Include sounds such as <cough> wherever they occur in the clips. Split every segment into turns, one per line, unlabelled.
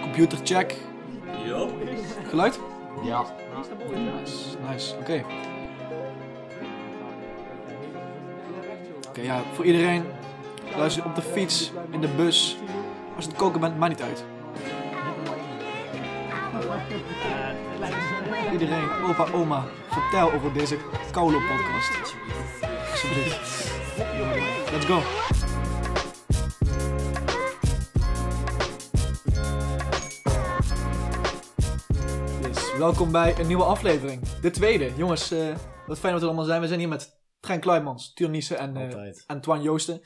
Computer check. Geluid?
Ja.
Nice, oké. Oké, ja, voor iedereen. Luister op de fiets, in de bus. Als je het koken bent, maakt niet uit. Iedereen, opa, oma, vertel over deze koude podcast. Alsjeblieft. Let's go. Yes, welkom bij een nieuwe aflevering. De tweede. Jongens, eh, wat fijn dat we er allemaal zijn. We zijn hier met Trijn Kluijmans, Tuur Nissen en eh,
Altijd.
Antoine Joosten.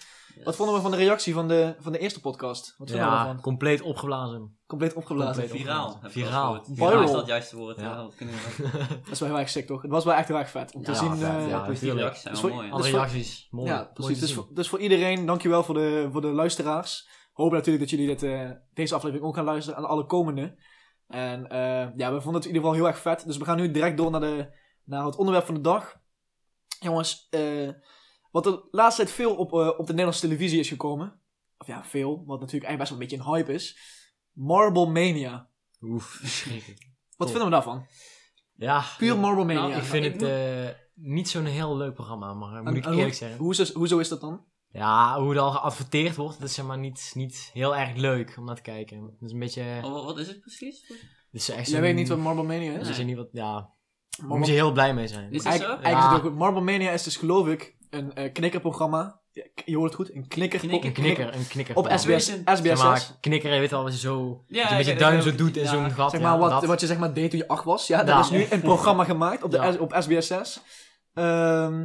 Wat vonden we van de reactie van de, van de eerste podcast? Wat vonden we
Ja,
ervan?
compleet opgeblazen.
Compleet opgeblazen.
compleet
Viraal. heb ik
Viraal.
al gehoord.
Viral.
Viraal is dat het juiste woord.
Ja.
Ja. dat kunnen we
Dat is wel heel erg sick, toch? Het was wel echt heel erg vet om te
Ja,
zien.
vet,
eh,
ja.
wel. Positieve
tuurlijk.
reacties zijn
Dus
wel
voor-
Oh, mooi. hè?
dus
Alle
voor-
reacties. Mooi.
ja, precies. Dus voor, dus voor iedereen, dankjewel voor de, voor de luisteraars. Hopen natuurlijk dat jullie dit, eh, deze aflevering ook gaan luisteren aan alle komende. En eh, ja, we vonden het in ieder geval heel erg vet. Dus we gaan nu direct door naar, de, naar het onderwerp van de dag. Jongens, eh, wat de laatste tijd veel op, eh, op de Nederlandse televisie is gekomen. Of ja, veel, wat natuurlijk eigenlijk best wel een beetje een hype is. Marble Mania. <laughs>
Oef, verschrikkelijk.
Wat
Top.
vinden we daarvan?
Ja,
Puur Marble Mania.
Nou,
ik vind het eh, niet zo'n heel leuk programma, maar eh, moet
En-
ik
en
eerlijk
hoe,
zeggen.
hoe is- hoezo is dat dan?
Ja, hoe het al geadverteerd wordt, dat is zeg maar niet, niet heel erg leuk om naar te kijken. Dat is een beetje...
Oh, wa- wat is het precies?
dat is echt
Jij
zo'n-
weet niet wat Marble Mania
dat
is?
is er niet wat... Ja, daar
Marble-
moet je heel blij mee zijn.
Is dat
Eigen-
zo?
Eigenlijk
Ja.
is het ook, Marble Mania is dus geloof ik een eh, knikkerprogramma. Ja, k- Je hoort het goed, een knikker.
Knikker-
Een knikker, een knikker.
Op SBS,
Zeg
Zeg
SBS
maar, knikker, je weet wel, wat je zo...
Ja,
dat je een
ik
beetje
weet-
duim
ik
zo
weet-
doet in
ja.
zo'n gat.
Zeg
ja,
maar wat,
dat.
wat je zeg maar deed toen je acht was. Ja,
Ja.
dat is nu een programma gemaakt op, de,
Ja.
S- op SBS 6. Ehm,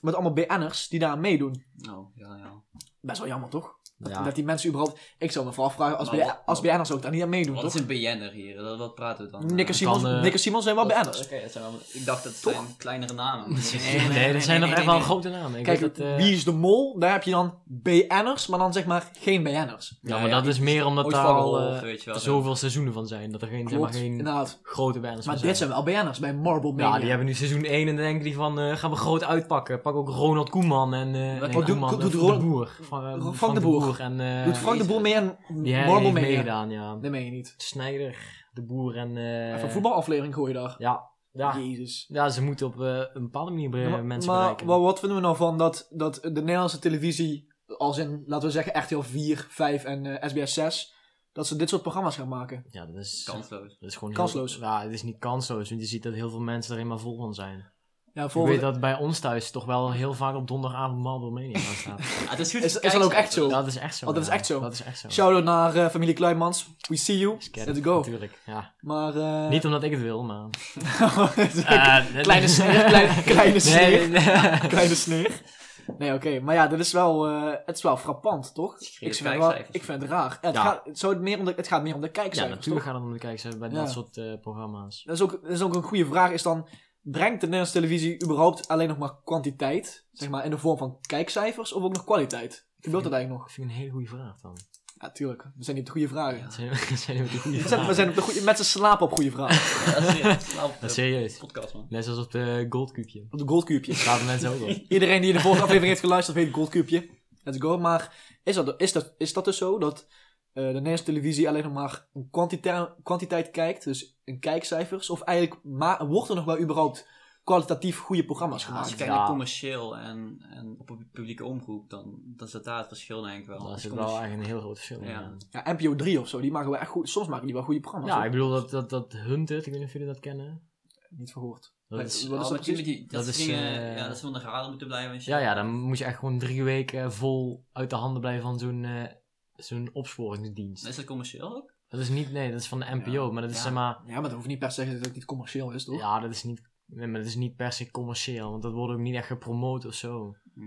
met allemaal BN'ers die daar meedoen.
Oh, ja, ja.
Best wel jammer toch? Dat,
Ja.
dat die mensen überhaupt... Ik zou me vooral vragen als,
Maar
BN
wat-
als BN'ers ook daar niet aan meedoen
Wat is
toch?
een BN'er hier? Dat, wat praten we dan?
Nick en
Eh,
Simons,
Kan, eh,
Nick en Simons zijn wel
dat-
BN'ers.
Oké, dat zijn allemaal- ik dacht dat het
Toch?
zijn kleinere namen.
Nee, dat zijn nog echt wel grote namen. Ik
Kijk,
weet dat, eh,
wie is de mol? Daar heb je dan BN'ers, maar dan zeg maar geen BN'ers.
Ja, maar dat is meer omdat
Ooit
daar
van
al
Wolf,
eh,
weet je wel. zo.
zoveel seizoenen van zijn. Dat er geen, zeg maar,
Klopt,
geen
inderdaad.
grote bands
Maar
van
dit zijn wel BN'ers bij Marble Mania.
Ja, die hebben nu seizoen 1 en dan denken die van, eh, gaan we groot uitpakken. Pak ook Ronald Koeman en eh
Wat
nee,
doet-
Koeman,
doet
eh,
Ronald-
de Boer. Van, eh,
Frank de Boer.
en eh
Doet Frank de Boer mee aan
die heeft
Marble Mania?
meegedaan, ja.
Dat meen je niet.
Snijder, de Boer en... eh,
Even een voetbalaflevering gooi je daar.
Ja, ja,
Jezus.
ja, ze moeten op eh, een bepaalde manier bre-
maar
mensen
maar
bereiken.
wa- wat vinden we nou van dat, dat de Nederlandse televisie, als in, laten we zeggen, RTL 4, 5 en eh, SBS 6, dat ze dit soort programma's gaan maken?
ja, dat is, <laughs>
Kansloos.
dat is gewoon
Kansloos.
Heel, ja, het is niet kansloos, want je ziet dat heel veel mensen er helemaal vol van zijn.
Ja,
Ik weet
volgende.
dat bij ons thuis toch wel heel vaak op donderdagavond Marble Mania <laughs> staat.
Ah, het is goed.
Is,
voor
is dat ook
kijkcijfers.
echt zo?
dat is echt zo.
Oh, dat is
ja.
echt zo.
Dat is echt zo.
Shout-out naar eh, familie Kluijmans. We see you.
Is kerk,
Let's go.
Natuurlijk, ja.
Maar... eh, <laughs>
Niet <laughs> omdat ik het wil, maar... Eh,
kleine sneer, kleine, <laughs> kleine sneer.
<laughs> Nee, nee.
Kleine sneer. Nee, oké. Maar ja, dat is wel, eh, het is wel frappant, toch?
Schreeuwt
Ik vind, het wel,
kijkcijfers.
ik vind het raar. Het,
Ja.
gaat, het, zou het meer om de, het gaat meer om de
Ja,
kijkcijfers, toch?
natuurlijk gaan het om de kijkers bij
Ja.
dat soort eh, programma's.
Dat is, ook, dat is ook een goede vraag. Is dan, brengt de Nederlandse televisie überhaupt alleen nog maar kwantiteit? Zeg maar in de vorm van kijkcijfers of ook nog kwaliteit? Gebeurt dat eigenlijk nog?
Dat vind ik een hele goede vraag dan.
Ja, tuurlijk. We zijn niet op de goede vragen.
Dat zijn, <laughs> dat zijn weer de goede
We, zijn, we
vragen.
zijn op de goede... Mensen slapen op goede
<laughs>
vragen.
Ja, dat is serieus. Nou,
Dat is
eh,
serieus.
Podcast, man.
Net zoals op de Goldcubje.
op de goldkuubje.
Laten
<laughs>
mensen ook op.
Iedereen die de vorige aflevering heeft geluisterd weet goldkuubje. Let's go. Maar is dat, is dat, is dat dus zo? Dat eh, de Nederlandse televisie alleen nog maar een kwantita- kwantiteit kijkt? Dus in kijkcijfers? Of eigenlijk ma- wordt er nog wel überhaupt kwalitatief goede programma's
Ja, als je
gemaakt?
kijkt
Ja.
naar commercieel en, en op een publieke omroep, dan dan is dat daar het verschil denk ik wel.
Dat
Als
is het
commerci-
wel echt een heel groot verschil.
Ja.
ja.
Ja, NPO 3 of zo, die maken wel echt goed. Soms maken die wel goede programma's.
Ja,
hoor.
ik bedoel dat, dat, dat Hunted, ik weet niet of jullie dat kennen.
Niet verhoord.
Dat
Maar-
is,
Wat is
Oh,
dat
met die-
precies?
met die- dat
Dat
soort
is,
dingen,
eh,
ja, dat ze van de radar moeten blijven. en shit.
Dus ja, ja, dan moet je echt gewoon drie weken eh, vol uit de handen blijven van zo'n eh, zo'n opsporingsdienst.
Is dat commercieel ook?
Dat is niet, nee, dat is van de NPO, maar dat is
Ja.
zeg maar,
Ja, maar dat hoeft niet per se te zeggen dat het niet commercieel is, toch?
ja, dat is niet, nee, maar dat is niet per se commercieel, want dat wordt ook niet echt gepromoot of zo.
Hm.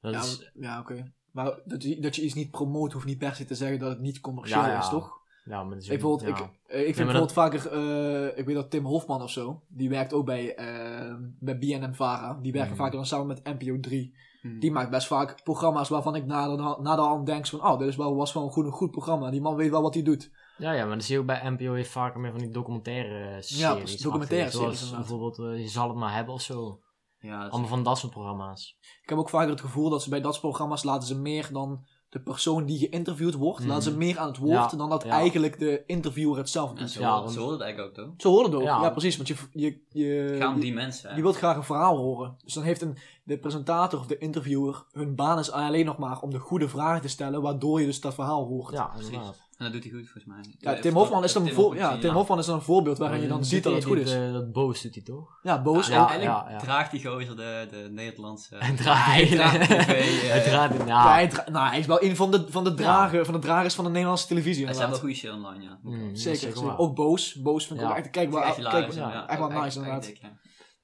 Dat
Ja,
is,
ja, oké. Maar dat je, dat je iets niet promoot, hoeft niet per se te zeggen dat het niet commercieel
Ja, ja.
is, toch?
ja, maar dat is
Ik, bijvoorbeeld,
ja.
ik, eh, ik vind
Nee, maar
bijvoorbeeld
dat-
vaker, eh, ik weet dat Tim Hofman of zo, die werkt ook bij, eh bij BNM Vara. Die werken
Mhm.
vaker dan samen met NPO 3.
Hm.
Die maakt best vaak programma's waarvan ik na de, na de hand denk van, oh, dit is wel, was wel een goed, een goed programma. Die man weet wel wat hij doet.
ja, ja, maar dat zie je ook bij NPO heeft vaker meer van die documentaire eh, series.
precies, documentaire
achter,
series
Zoals
inderdaad.
bijvoorbeeld, eh, je zal het maar hebben of zo.
Ja, dat is-
Allemaal van dat soort programma's.
Ik heb ook vaker het gevoel dat ze bij dat soort programma's laten ze meer dan de persoon die geïnterviewd wordt,
Mhm.
laat ze meer aan het woord
Ja,
dan dat
ja.
eigenlijk de interviewer het zelf
En
doet.
zo,
Ja,
hoort-
want-
dus-
zo hoort het eigenlijk ook, toch?
Zo hoort het ook. Ja,
Ja.
precies. Want je, je, je,
Het gaat om die mensen. hè?
je wilt graag een verhaal horen. Dus dan heeft een, de presentator of de interviewer, hun baan is alleen nog maar om de goede vragen te stellen, waardoor je dus dat verhaal hoort.
Ja,
Precies.
inderdaad.
En dat doet hij goed, volgens mij.
Ja, Tim Hofman is dan, een voor, ja, Tim
Hofman.
Hofman is dan een voorbeeld waarin je dan ziet dat het goed is.
eh, dat boos doet hij toch?
Ja,
<laughs>
boos
Ja,
ook.
Eigenlijk
ja, ja.
draagt die gozer de, de
<laughs>
Nederlandse...
Hij draait.
Ja, hij
<laughs>
draagt
Hij
de tv, eh,
draait.
Maar
Ja.
hij, dra- nou, hij is wel een van de, van de, dragen, van de dragers van de Nederlandse televisie.
Er zijn wel
inderdaad.
goede shit online, ja.
Mm, dat is
Zeker. zeker.
waar.
Ook boos. Boos vind Hmm. ik
Ja.
ook echt. Kijk,
Het is
waar,
echt
kijk,
hilarisch,
ja,
ja.
echt wel
Echt-
nice,
echt
inderdaad.
dik, ja.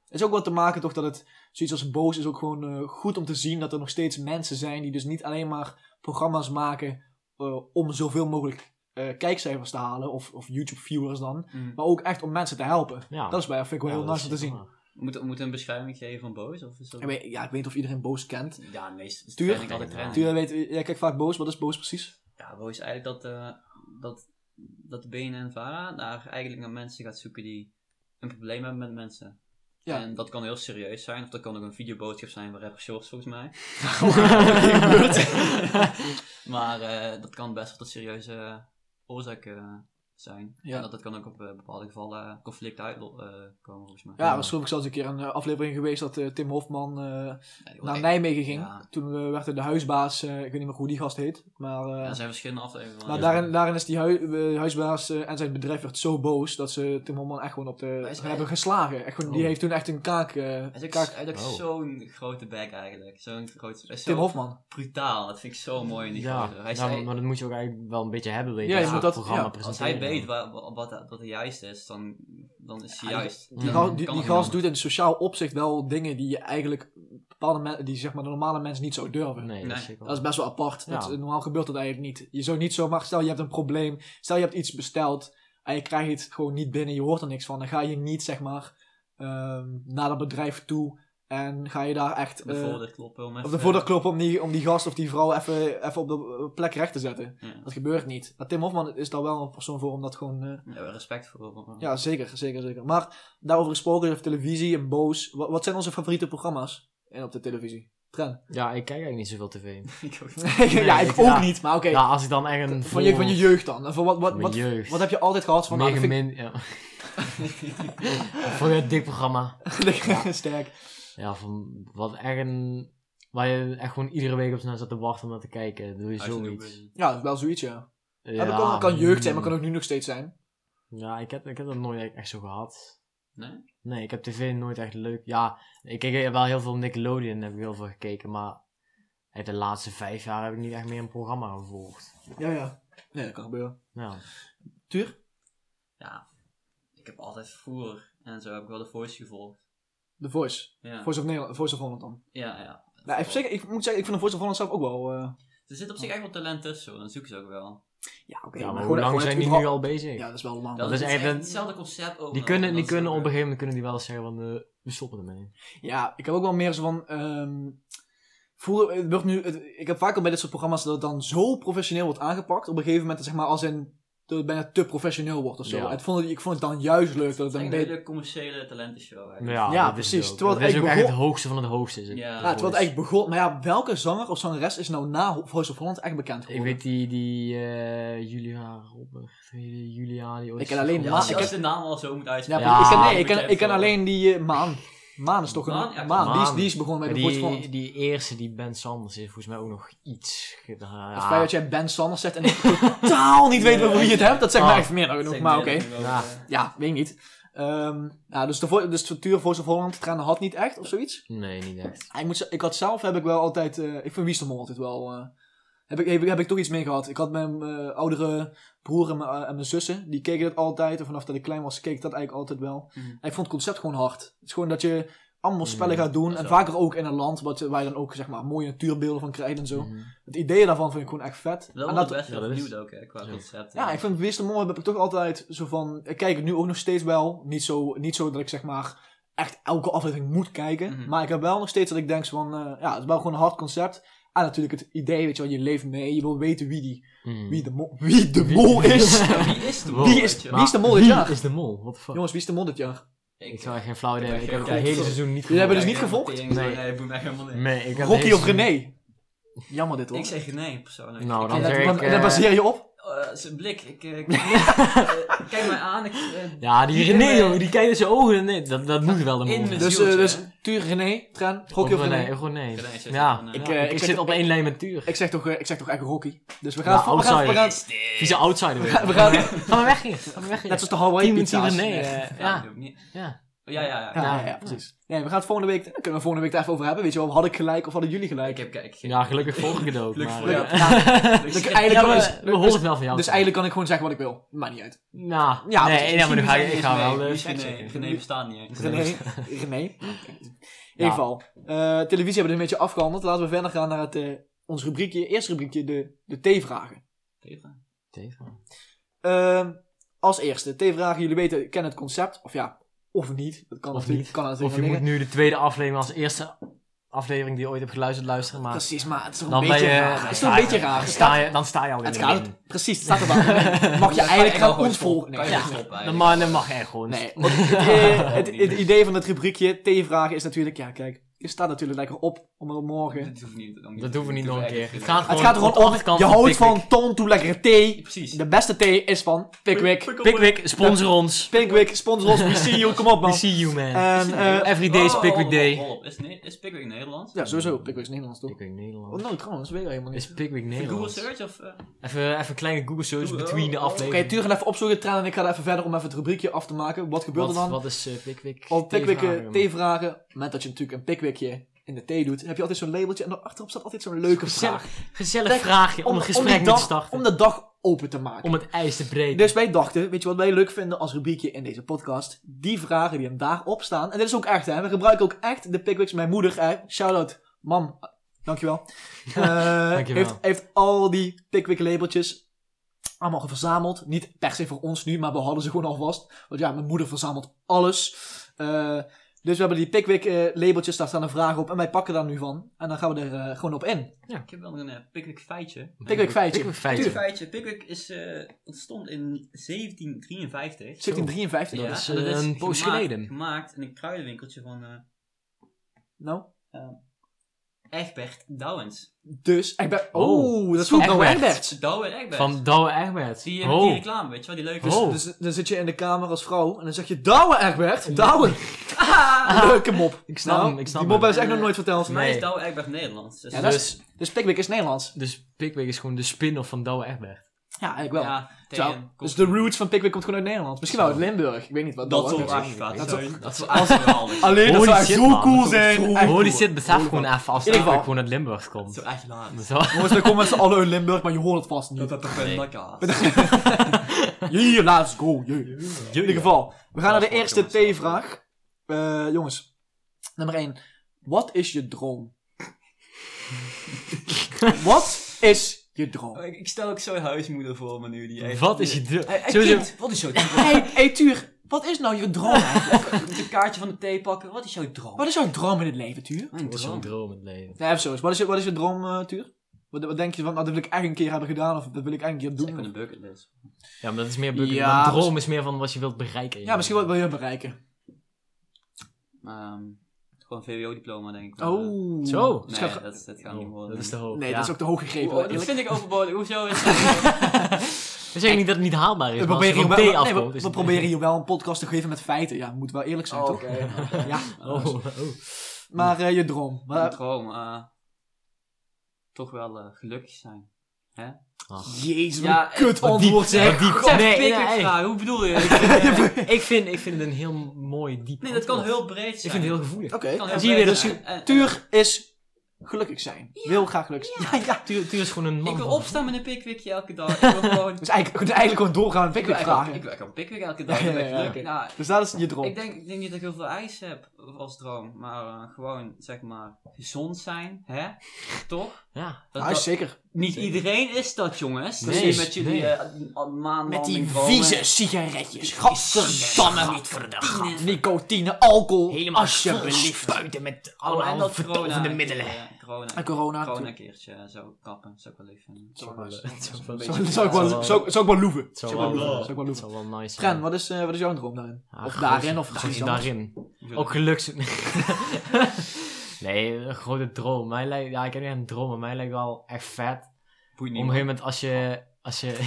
Het is ook wat te maken toch dat het zoiets als boos is ook gewoon eh, goed om te zien dat er nog steeds mensen zijn die dus niet alleen maar programma's maken eh, om zoveel mogelijk eh, kijkcijfers te halen of, of YouTube viewers dan,
Mm.
maar ook echt om mensen te helpen.
Ja.
Dat is bij vind ik wel
Ja,
heel
dat
nice om te
is
zien.
zeker waar.
Moet, moet een beschrijving geven van boos? Of is dat...
Ik weet, ja, ik weet niet of iedereen boos kent.
Ja, meestal
Tuur?
ben ik altijd trend.
Tuurlijk weet, jij kijkt vaak boos. Wat is boos precies?
Ja, boos is eigenlijk dat, eh, dat, dat de BNNVARA daar eigenlijk naar mensen gaat zoeken die een probleem hebben met mensen.
Ja.
En dat kan heel serieus zijn, of dat kan ook een videoboodschap zijn van rapper Shorts volgens mij. <laughs>
<laughs>
maar eh, dat kan best wel tot serieuze oorzaken eh, zijn.
Ja.
En dat, dat kan ook op eh, bepaalde gevallen conflict uitkomen volgens mij.
Ja, er was geloof ik zelfs een keer een eh, aflevering geweest dat eh, Tim Hofman eh,
Ja,
Oh, e-
die wordt
naar
echt-
Nijmegen ging.
ja.
Toen eh, werd er de huisbaas, eh, ik weet niet meer hoe die gast heet, maar... eh,
Ja, er zijn verschillende afleveringen. van.
Maar daarin, daarin is die hui- eh, huisbaas eh, en zijn bedrijf werd zo boos dat ze Tim Hofman echt gewoon op de
is wel-
hebben geslagen. Echt gewoon, Die
Oh.
heeft toen echt een kaak. eh,
Hij is ook,
kaak
hij is ook
Oh.
zo'n grote bek eigenlijk. Zo'n groot, hij is
Tim
zo
Hofman.
brutaal. Dat vind ik zo mooi in die
Ja,
gozer. Hij is-
nou,
hij-
maar dat moet je ook eigenlijk wel een beetje hebben, weet
Ja,
je.
je moet dat-
programma
ja,
presenteren.
als hij weet wa- wa- wat, wat, er juist is, dan, dan is hij
Ja,
juist.
Die,
Mm.
gal-
Dan
die,
kan
die
het
gast
niet
doet in sociaal opzicht wel dingen die je eigenlijk bepaalde men- die zeg maar de normale mensen niet zou durven.
Nee, dat
Nee.
is zeker
Dat is best wel apart. Dat,
Ja.
normaal gebeurt dat eigenlijk niet. Je zou niet zomaar, stel je hebt een probleem, stel je hebt iets besteld en je krijgt het gewoon niet binnen, je hoort er niks van. Dan ga je niet zeg maar ehm, naar dat bedrijf toe en ga je daar echt.
De
eh,
voordeur kloppen. Om even,
Of de voordeur kloppen om die, om die gast of die vrouw even, even op de eh, plek recht te zetten.
Ja.
Dat gebeurt niet. Maar Tim Hofman is daar wel een persoon voor om dat gewoon... eh,
<laughs> Ja, respect voor.
ja, zeker, zeker, zeker. Maar daarover gesproken, over televisie en boos. Wat, wat zijn onze favoriete programma's en op de televisie? Tren.
Ja, ik kijk eigenlijk niet zoveel tv.
<laughs> Ik ook.
<laughs> ja, ik
ik-
ook
ja.
niet, maar oké.
Ja, als ik dan echt een...
Van, je, van je jeugd dan. En Van wat, wat,
Van mijn
wat,
jeugd.
wat heb je altijd gehad van... nou,
Mega
<laughs> dat vind
min... Ja. <laughs> Vond je het dik programma?
ik- <laughs> Sterk.
Ja, van wat echt een... Waar je echt gewoon iedere week op naar zat te wachten om naar te kijken. Doe je
Uit de
zoiets.
doelpunt.
Ja, dat is wel zoiets, ja.
Ja,
ja dat kan, dat kan jeugd zijn, maar
mm.
kan ook nu nog steeds zijn.
Ja, ik heb, ik heb dat nooit e-, echt zo gehad.
Nee?
Nee, ik heb tv nooit echt leuk... Ja, ik keek wel heel veel Nickelodeon, heb ik heel veel gekeken, maar... uit De laatste vijf jaar heb ik niet echt meer een programma gevolgd.
Ja, ja. Nee, dat kan gebeuren.
Ja.
Tuur?
Ja, ik heb altijd voer en zo heb ik wel de voice gevolgd.
The Voice.
Ja,
Voice of Nederland, Voice of Holland dan.
ja. ja.
Nou, ik, zeg, ik moet zeggen, ik vind de Voice of Holland zelf ook wel... eh,
Er zit op zich echt wel talent tussen, hoor. dan zoeken ze ook wel.
Ja, oké.
ja,
maar
maar
gewoon-
hoe lang
gewoon
zijn
het
die nu
überhaupt-
al bezig?
Ja, dat is wel lang.
Dat,
is
is echt
eigenlijk-
hetzelfde concept ook. eh,
Die kunnen, die kunnen op een gegeven moment kunnen die wel zeggen van, eh, we stoppen ermee.
Ja, ik heb ook wel meer zo van... ehm, vroeger, het wordt nu, het- ik heb vaak al bij dit soort programma's dat het dan zo professioneel wordt aangepakt. Op een gegeven moment, dat zeg maar, als in... Dat het bijna te professioneel wordt of zo.
Ja.
Het vond het- ik vond het dan juist leuk dat het
Het is
een
eigenlijk een
beetje...
hele commerciële talentenshow eigenlijk.
Ja,
Ja,
dat is het
precies.
ook.
Terwijl
dat
het
is ook
eigenlijk
echt het hoogste van het hoogste. Is het. Dus
Ja.
Ja, terwijl het
Voice.
eigenlijk begon... Maar ja, welke zanger of zangeres is nou na Ho- Voice of Holland echt bekend
Ik
geworden?
weet die, die eh, Julia Robert, die Julia, die ooit
Ik ken alleen
Ja,
Ma-
als
maar
je
ik
als de naam al zo moet
Ja,
uitspreken.
Ja,
ik, ken, nee,
dan
ik, ken,
weet
ik
je
ken
het wel.
alleen die eh, Maan. Maan is toch een...
Maan, ja,
Maan, Die, is,
Maan.
die is begonnen bij de Voice of
die,
Holland.
die eerste, die Ben Sanders, heeft volgens mij ook nog iets gedaan.
Het feit dat jij Ben Sanders zegt en ik totaal niet weet over wie je het hebt, dat zegt mij
Ah.
echt meer dan
Dat
genoeg,
zeg
maar
ik
oké.
net nu ook,
Ja.
eh.
Ja, weet ik niet. Ehm, ja, dus de, vo- dus de structuur Voice of Holland trainen had niet echt of zoiets.
Nee, niet echt.
Ja, Ik, moet, ze- ik had zelf heb ik wel altijd. eh, ik vind Wiestemol altijd wel. eh, heb, ik, heb, ik- heb ik toch iets mee gehad. Ik had mijn eh, oudere broer en mijn, eh, en mijn zussen. Die keken dat altijd. En vanaf dat ik klein was, keek ik dat eigenlijk altijd wel.
Mhm.
En ik vond het concept gewoon hard. Het is gewoon dat je allemaal spellen
Mm,
gaat doen.
dat
En
is wel-
vaker ook in een land wat, waar je dan ook zeg maar, mooie natuurbeelden van krijgt en zo.
Mhm.
Het idee daarvan vind ik gewoon echt vet.
Dat
en
wordt
dat,
best wel
ja, dat is-
vernieuwd ook, hè, qua
Ja.
concept.
Ja, ik vind Wistermol heb ik toch altijd zo van... Ik kijk het nu ook nog steeds wel. Niet zo, niet zo dat ik zeg maar echt elke aflevering moet kijken.
Mhm.
Maar ik heb wel nog steeds dat ik denk zo van... eh, ja, het is wel gewoon een hard concept. En natuurlijk het idee, weet je wel, je leeft mee. Je wil weten wie, die,
Mhm.
wie, de, mol, wie de mol is.
Ja, wie is de
Wow.
mol?
Wie is-
weet je wel?
wie is de mol dit
<laughs> Wie
jaar?
is de mol? What the fuck?
Jongens, wie is de mol dit jaar?
ik
Ik
zou echt geen flauw idee
Ik
hebben. Ik
heb
heb het
geen
hele
kijk.
seizoen niet
Jullie hebben
gevolgd.
dus niet gevolgd?
Nee.
Nee, nee, boeit mij helemaal niet.
Nee, ik heb het
Rocky
hele
of
seizoen-
René? Jammer dit hoor.
Ik zeg nee, persoonlijk.
Nou,
Ik-
en
dan
dat,
zeg ik,
dat-
eh,
dat baseer je op?
Eh, zijn blik, ik,
<laughs>
<laughs> eh, eh, kijk mij aan. Ik, eh,
Ja, die
Hier
René,
in,
jongen,
eh,
die kijkt in zijn ogen. Nee, dat, dat moet wel een
In
mond.
mijn
Dus,
zieltje,
eh, dus
hè?
Tuur, René, Tran, gokje of René?
nee, René.
René zegt
Ja,
van, eh,
Ik,
Ja,
eh,
ik, zit
zeg-
op één lijn met Tuur.
Ik zeg toch, eh, ik zeg toch echt Rocky. Dus we gaan...
Ja,
we gaan, we
outsider.
gaan,
Is dit?
Vieze
<laughs>
outsider. weer.
we gaan,
<laughs>
Ga maar weg hier. Ga maar weg hier.
net zoals de
Team
Hawaii
met Team
pizza's.
René.
Ja.
eh,
Ja,
Ja,
doe ik niet.
ja.
ja, ja. ja.
Ja, ja, ja, precies. Nee, we gaan het volgende week, dan kunnen we volgende week daar even over hebben. Weet je wel, had ik gelijk of hadden jullie
Ik
gelijk?
heb kijk. geen-
Ja, gelukkig volgedood.
Gelukkig
maar,
voor jou.
eh, <laughs>
Ja,
Dus-
Dus
ja,
eigenlijk,
Ja,
kan-
maar we
dus-
horen het wel van jou.
dus eigenlijk kan ik gewoon zeggen wat ik wil. Maakt niet uit.
Nou,
Ja,
nee,
precies.
nee, maar nu ga ik, ik ga
René,
wel eh,
wie
de
is
seks
René,
zeggen.
René bestaat niet eens.
René. <laughs>
<laughs>
René. In ieder geval. eh, televisie hebben we een beetje afgehandeld. Laten we verder gaan naar het, eh, ons rubriekje. Eerste rubriekje, de, de T-vragen.
Tegen.
Ehm, als eerste, T-vragen. Jullie weten, kennen het concept. Of ja, of niet. Dat kan
Of
natuurlijk.
niet.
Kan er
Of
natuurlijk
je
aan
moet
liggen.
nu de tweede aflevering als eerste aflevering die je ooit hebt geluisterd luisteren, maar
Precies, maar het is toch
dan
een
ben
beetje
je...
raar. Het is toch
sta
een
je-
beetje raar.
Dan
Het
sta
staat,
je, dan sta je al in
het
de
gaat,
min.
precies, het staat
<laughs>
erbij. Mag je eigenlijk gaan ons volgen?
Nee,
ja.
Dan mag, dan mag je echt gewoon.
Nee, want het, eh,
<laughs>
het, het idee van het rubriekje T-vragen is natuurlijk, ja kijk, je staat natuurlijk lekker op om er morgen.
Dat hoeft niet.
Dat hoeven we niet nog een keer. Het
gaat
gaat
Het
gewoon
gaat er
op de
gewoon om,
achterkant
je houdt
Pickwick.
van Toon toe lekkere thee.
Precies.
De beste thee is van Pickwick.
Pickwick, sponsor ons.
Pickwick, sponsor ons, we see you, kom op
We
man.
see you, man.
En, eh,
Every day is Pickwick
Oh,
day.
oh, oh, oh. Is, ne- is Pickwick Nederlands?
ja, sowieso, Pickwick is Nederlands toch?
Pickwick
Oh,
Nederland.
nou trouwens, weet ik helemaal niet.
Is Pickwick
Google
Nederland?
search of... eh,
Even, even een kleine Google search
Doe-
between de
oh, oh.
Oké,
afleveringen.
Tuur gaat even opzoeken, Traan en ik gaan even verder om even het rubriekje af te maken. Wat gebeurt er
Wat,
dan?
wat is eh, Pickwick?
Op Pickwick eh,
T-vragen.
T-vragen, op het moment dat je natuurlijk een Pickwickje in de thee doet, heb je altijd zo'n labeltje en daarachterop staat altijd zo'n leuke vraag.
Gezellig
Zeg,
vraagje om, een
die
gesprek
dag,
te starten.
Om
Om,
de dag open te maken.
het ijs te breken.
Dus wij dachten, weet je wat wij leuk vinden als rubriekje in deze podcast? Die vragen die hem daarop staan. En dit is ook echt, hè. We gebruiken ook echt de Pickwicks. Mijn moeder, hè. Shout-out. Mam,
<laughs>
dankjewel. Eh
Dankjewel.
Heeft, heeft al die Pickwick labeltjes allemaal verzameld. Niet per se voor ons nu, maar we hadden ze gewoon alvast. Want ja, mijn moeder verzamelt alles. Eh, dus we hebben die Pickwick eh, labeltjes, daar staan een vraag op. En wij pakken daar nu van. En dan gaan we er eh, gewoon op in.
Ik heb wel een eh, Pickwick feitje.
Pickwick feitje.
Pickwick feitje.
Tuur,
Tuurlijk.
feitje. Pickwick is eh, ontstond in 1753.
1753.
dat is,
en
eh, een poos
gemaakt-
geleden.
gemaakt in een kruidenwinkeltje van eh
Nou.
Egbert Douwens.
Dus Egbert.
Oh,
Oh, dat is van Douwe
Egbert.
Egberts.
Douwe Egbert.
Van Douwe Egberts.
Zie je
Oh.
die reclame, weet je wel, die leuke...
Oh.
Dus, dus dan zit je in de kamer als vrouw en dan zeg je Douwe Egbert. Douwe.
<laughs>
Ah, leuke mop.
Ik snap
Nou,
hem, ik snap
Die mop
hem.
hebben ze echt nog nooit verteld.
Volgens mij
Nee.
is Douwe Egbert Nederlands. Dus
Ja, dat
dus,
Dus Pickwick is Nederlands.
dus Pickwick is gewoon de spin-off van Douwe Egbert.
Ja, eigenlijk wel.
eh, Ja,
Zo.
tegen...
dus de roots van Pickwick komt gewoon uit Nederland. Misschien wel uit Limburg. Ik weet niet wat.
Dat
Douwe
zou
Egberts-
wel-
echt vet
Dat
zijn. Dat zou echt
<laughs>
geweldig zijn.
Alleen dat
Holy
zou echt
shit,
zo
man.
cool
Dat zou
zijn. Echt
Hoor die
cool.
zit, besef
Holy
gewoon
man.
even als
In ieder geval.
Pickwick gewoon uit Limburg komt.
Dat zou echt laat.
<laughs> Zo.
Jongens, we komen met z'n allen uit Limburg, maar je hoort het vast
Dat
niet.
dat toch wel lekker is.
Yeah, let's go. yeah. In ieder geval, we gaan naar de
Dat is
eerste
goed, jongens.
T-vraag. Eh, jongens, nummer 1. Wat is je <laughs> droom? Wat is je droom?
Ik ik stel ook zo'n huismoeder voor me nu. Die echt-
Wat is je
Hey,
eh,
druk?
hey,
Sowieso.
kind, wat is jouw
hey, hey, Tuur, wat is nou je <laughs> droom?
Met een kaartje van de thee pakken. Wat is jouw droom?
wat is jouw droom in het leven, Tuur?
Mijn
Wat is
droom.
zo'n droom in het leven.
Nee, even zo eens. Wat is je, wat is je droom, eh, Tuur? Wat, wat denk je van, nou, dat wil ik echt een keer hebben gedaan of dat wil ik echt een keer
Ik ben
doen?
een bucketlist.
Ja, maar dat is meer Bucketlist.
Ja,
Een droom is meer van wat je wilt bereiken.
Ja, misschien wat wil je bereiken.
Ehm, gewoon een VWO-diploma, denk ik.
Oh.
Zo.
Dus
Nee,
gaat-
dat, dat gaat niet
Oh,
worden.
dat is te hoog.
nee
ja.
dat is ook te hoog gegrepen.
Oh, dat
eerlijk.
vind
<laughs>
ik overbodig. Hoezo is dat?
We zeggen niet dat het niet haalbaar is.
we
maar als je
proberen,
van
hier
T
wel, nee,
afkomt,
we,
is
we
het-
proberen hier wel een podcast te geven met feiten. Ja, moet wel eerlijk
Oh,
zijn, toch? <laughs> Ja.
Oh, oh.
Maar eh, je droom.
Mijn
Wat-
droom. eh, toch wel eh, gelukkig zijn.
Jezus, wat
Ja, eh,
een kut
Wat
<laughs>
diep,
antwoord zeg.
wat diep.
God,
Nee,
pik ik
nee.
vraag, Hoe bedoel
<laughs>
je? Ik, eh,
oh. Ik vind, ik vind het een heel mooi diep
nee, dat kan
antwoord.
heel breed
Ik
zijn.
vind het heel gevoelig.
Oké.
Het kan heel
Zie je weer
breed
dat
zijn. Eh, En- en-
Tuur is gelukkig zijn. Wil graag gelukkig zijn. Ja, ja.
Tuur, Tuur is gewoon een man.
Ik wil
van-
opstaan met een pikwikje elke dag. Ik
<laughs>
wil gewoon...
Dus eigenlijk, eigenlijk gewoon doorgaan met
Ik wil
pickwick
eigenlijk-
vragen.
ik wil eigenlijk een pikwik elke
<laughs>
dag.
Ja, ja,
Dat is
ja,
leuk.
oké.
Nou,
Dus dat is je droom.
Ik denk, ik denk niet dat ik heel veel eis heb als droom, maar eh, gewoon zeg maar gezond zijn, hè? Toch?
Ja.
Dat-
Ja, is
dat-
zeker.
niet iedereen is dat, jongens.
Nee,
Nee, met jullie
nee.
eh, a- maanlanding
Met die
dromen.
vieze sigaretjes. Gadverdamme.
Gadverdamme.
Nicotine, alcohol.
vol
Alsjeblieft.
spuiten met
Oh, en dat corona. een
Dat
keer, eh, Corona.
En corona.
Corona een keertje eh, zo kappen, zou ik wel leuk vinden.
zou wel-
Zou-
dat zou wel-
Beetje-
Zou zou ik wel- zou- zou ik wel loeven.
Het
Zou
zou
ik wel
wel-
loeven. Zou ik wel
dat
loeven.
zou wel nice
Fran,
zijn.
wat is, eh, wat is jouw droom daarin?
Ah,
Of
gozer,
daarin, of
gozer,
iets anders.
daarin.
Hoezo?
Ook geluks... <laughs> Nee, een grote droom. Mij lijkt, ja, ik heb niet echt een droom, maar mij lijkt wel echt vet.
Boeit
Op een
niet.
gegeven moment als je,
<laughs>
als je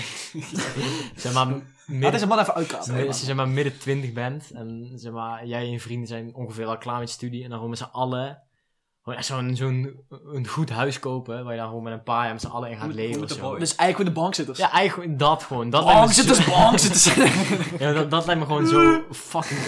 zeg maar,
Laat
midden,
deze man even uitkapen.
als je, zeg maar, midden twintig bent en zeg maar, jij en je vrienden zijn ongeveer al klaar met studie en dan gewoon met z'n allen gewoon echt zo'n, zo'n een goed huis kopen waar je dan gewoon met een paar jaar met z'n allen in gaat
Goed-
leven of
goede
zo.
boy.
Dus eigenlijk met de bankzitters.
Ja, eigenlijk dat gewoon.
Oh,
Dat lijkt me zo-
bankzitters,
<laughs>
bankzitters.
Ja, dat, dat lijkt me gewoon zo fucking...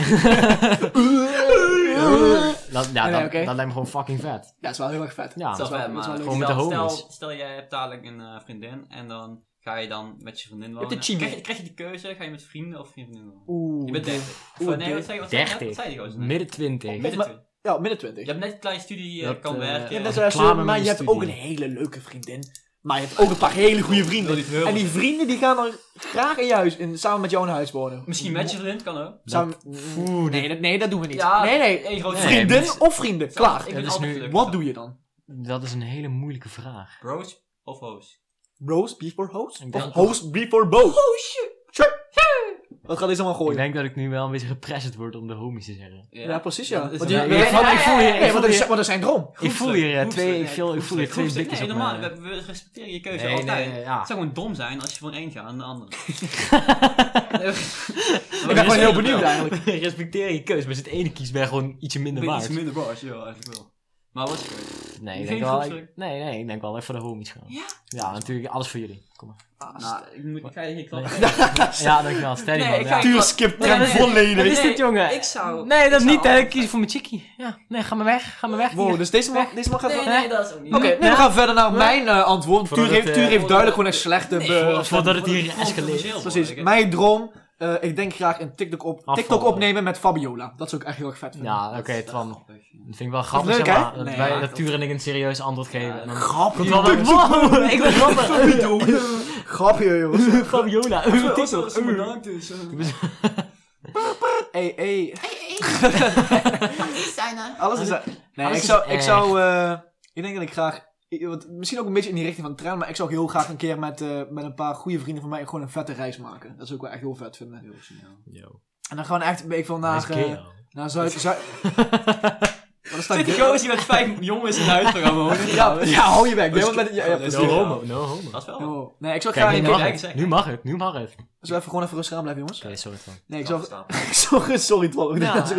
dat, ja,
Nee,
dat,
oké.
dat lijkt me gewoon fucking vet.
Ja, dat is wel heel erg vet.
Ja,
Dat is wel vet,
dat is wel leuk.
maar
Gewoon met de
stel,
homies.
stel, stel, jij hebt dadelijk een eh, vriendin en dan ga je dan met je vriendin wonen.
de chimie.
krijg, je, krijg je de keuze, ga je met vrienden of geen vriendin wonen?
Oeh.
Je bent 30. Of,
Oeh,
nee, wat zei je? Wat zei je? net? Wat
30.
zei je gozer net?
Midden twintig.
Midden
Maar-
twintig.
Ja, midden 20.
Je hebt net een kleine studie, eh,
Dat,
kan
eh,
werken.
je
Ja,
hebt
net
net
zoals
klaar
je,
met
maar je
mijn
hebt ook een
studie.
hele leuke vriendin. Maar je hebt ook een paar hele goede vrienden.
Dat is heel
En die vrienden die gaan er graag in je huis, in, samen met jou in huis wonen.
Misschien met je vriendin, kan ook.
Samen-
Oeh,
nee, dat, nee, dat doen we niet.
Ja,
nee, nee.
één grote
Nee,
Vriendin
maar-
of vrienden, klaar.
Ik
dat
ben
is
altijd
nu-
gelukkig.
Wat doe je dan?
Dat is een hele moeilijke vraag.
Bros of hoes?
Bros before hoes?
Ik
Of
denk-
hoes before bros?
Oh,
Tja. Wat gaat deze man
Ik
gooien?
denk dat ik nu wel een beetje gepressed word om de homies te zeggen.
Ja, precies ja.
Dat is
Want
een-
je-
Ja,
ik
je-
voel- ik voel je-
Nee,
ik
want
voel
dat is-
je-
want dat zijn droom.
ik voel hier eh, twee,
Groepsdruk,
ik
groepsdruk,
voel- ik voel hier twee
groepsdruk, groepsdruk.
bikjes op
Nee, normaal.
mijn-
We, we respecteren je keuze
Nee, nee,
altijd.
nee,
<laughs>
ja.
Het zou gewoon dom zijn als je van één gaat naar de
<laughs>
<laughs> andere.
Ik ben gewoon heel benieuwd eigenlijk.
Respecteer je keus, maar zit ene kies ben je gewoon ietsje minder
Iets
waard.
minder bars, joh, eigenlijk wel. Maar wat is het?
Nee, ik
Geen
denk wel,
groepsdruk.
ik, nee, nee, ik denk wel even voor de homies gaan.
Ja?
Ja, natuurlijk, alles voor jullie. Kom
<laughs>
maar.
Ah,
Nou, ik, moet, ik ga je geen klap
Nee.
geven.
Ja, dankjewel. Steady
Nee,
man.
ik
ja.
ga-
Tuur skipt
Nee,
hem
nee, Wat
volledig.
<laughs> is dit, jongen?
Ik zou...
Nee, dat
ik zou
niet. Hè.
altijd-
Ik kies voor mijn chickie. Ja. Nee, ga maar weg. Ga maar weg.
Wow,
hier.
dus deze man, deze man gaat
Nee,
wel...
nee, dat is ook niet.
Oké,
Nee.
nu we gaan verder naar mijn eh, antwoord. Tuur
Voordat
heeft,
het,
Tuur
eh,
heeft duidelijk gewoon echt slechte...
Nee,
be-
voordat-
Voordat het hier
voordat
escaleert.
officieel wordt,
Precies,
ik-
mijn droom. eh, ik denk graag een TikTok, op,
Afval.
TikTok opnemen met Fabiola. Dat zou ik echt heel erg vet vinden.
Ja, oké,
Dat is wel
Twan. Dat
grappig, ja.
vind ik wel grappig,
Is leuk,
zeg maar.
hè?
Dat
Nee,
wij
ja,
dat
dat-
Tuur en ik een serieus antwoord geven.
Ja,
en dan-
Grapje.
Komt wel een- Wow, <laughs>
<laughs>
ik ben grappig.
Grapje, jongens.
<laughs> Fabiola.
Als het
TikTok.
bedankt
dus,
is.
eh. Hey, hey. <laughs>
Zijn er?
Alles is... Nee,
alles
ik
is
zou... Ik,
echt.
zou eh, ik denk dat ik graag... ik- want misschien ook een beetje in die richting van trein, maar ik zou heel graag een keer met, eh, met een paar goede vrienden van mij gewoon een vette reis maken. Dat zou ik wel echt heel vet vinden.
Heel snel.
Yo.
En dan gewoon echt een beetje van naar, eh, naar Zuid... Zuid... Wat is dat?
Zit die gozer die met vijf jongens in huis gaan wonen?
Ja, ja, hou je weg. Nee, want met, ja, ja,
No
precies.
No homo, no homo.
Dat wel.
Oh, Nee, ik zou graag...
Kijk,
een
nu
keer-
mag
kijk,
het.
zeg.
Nu mag het. Nu mag het. Oké,
Zullen we even gewoon even rustig aan blijven, jongens?
sorry Twan.
Nee, ik
Knap
zou... <laughs>
staan.
Sorry, <laughs> sorry Twan. Ik denk
Ja.
dat ik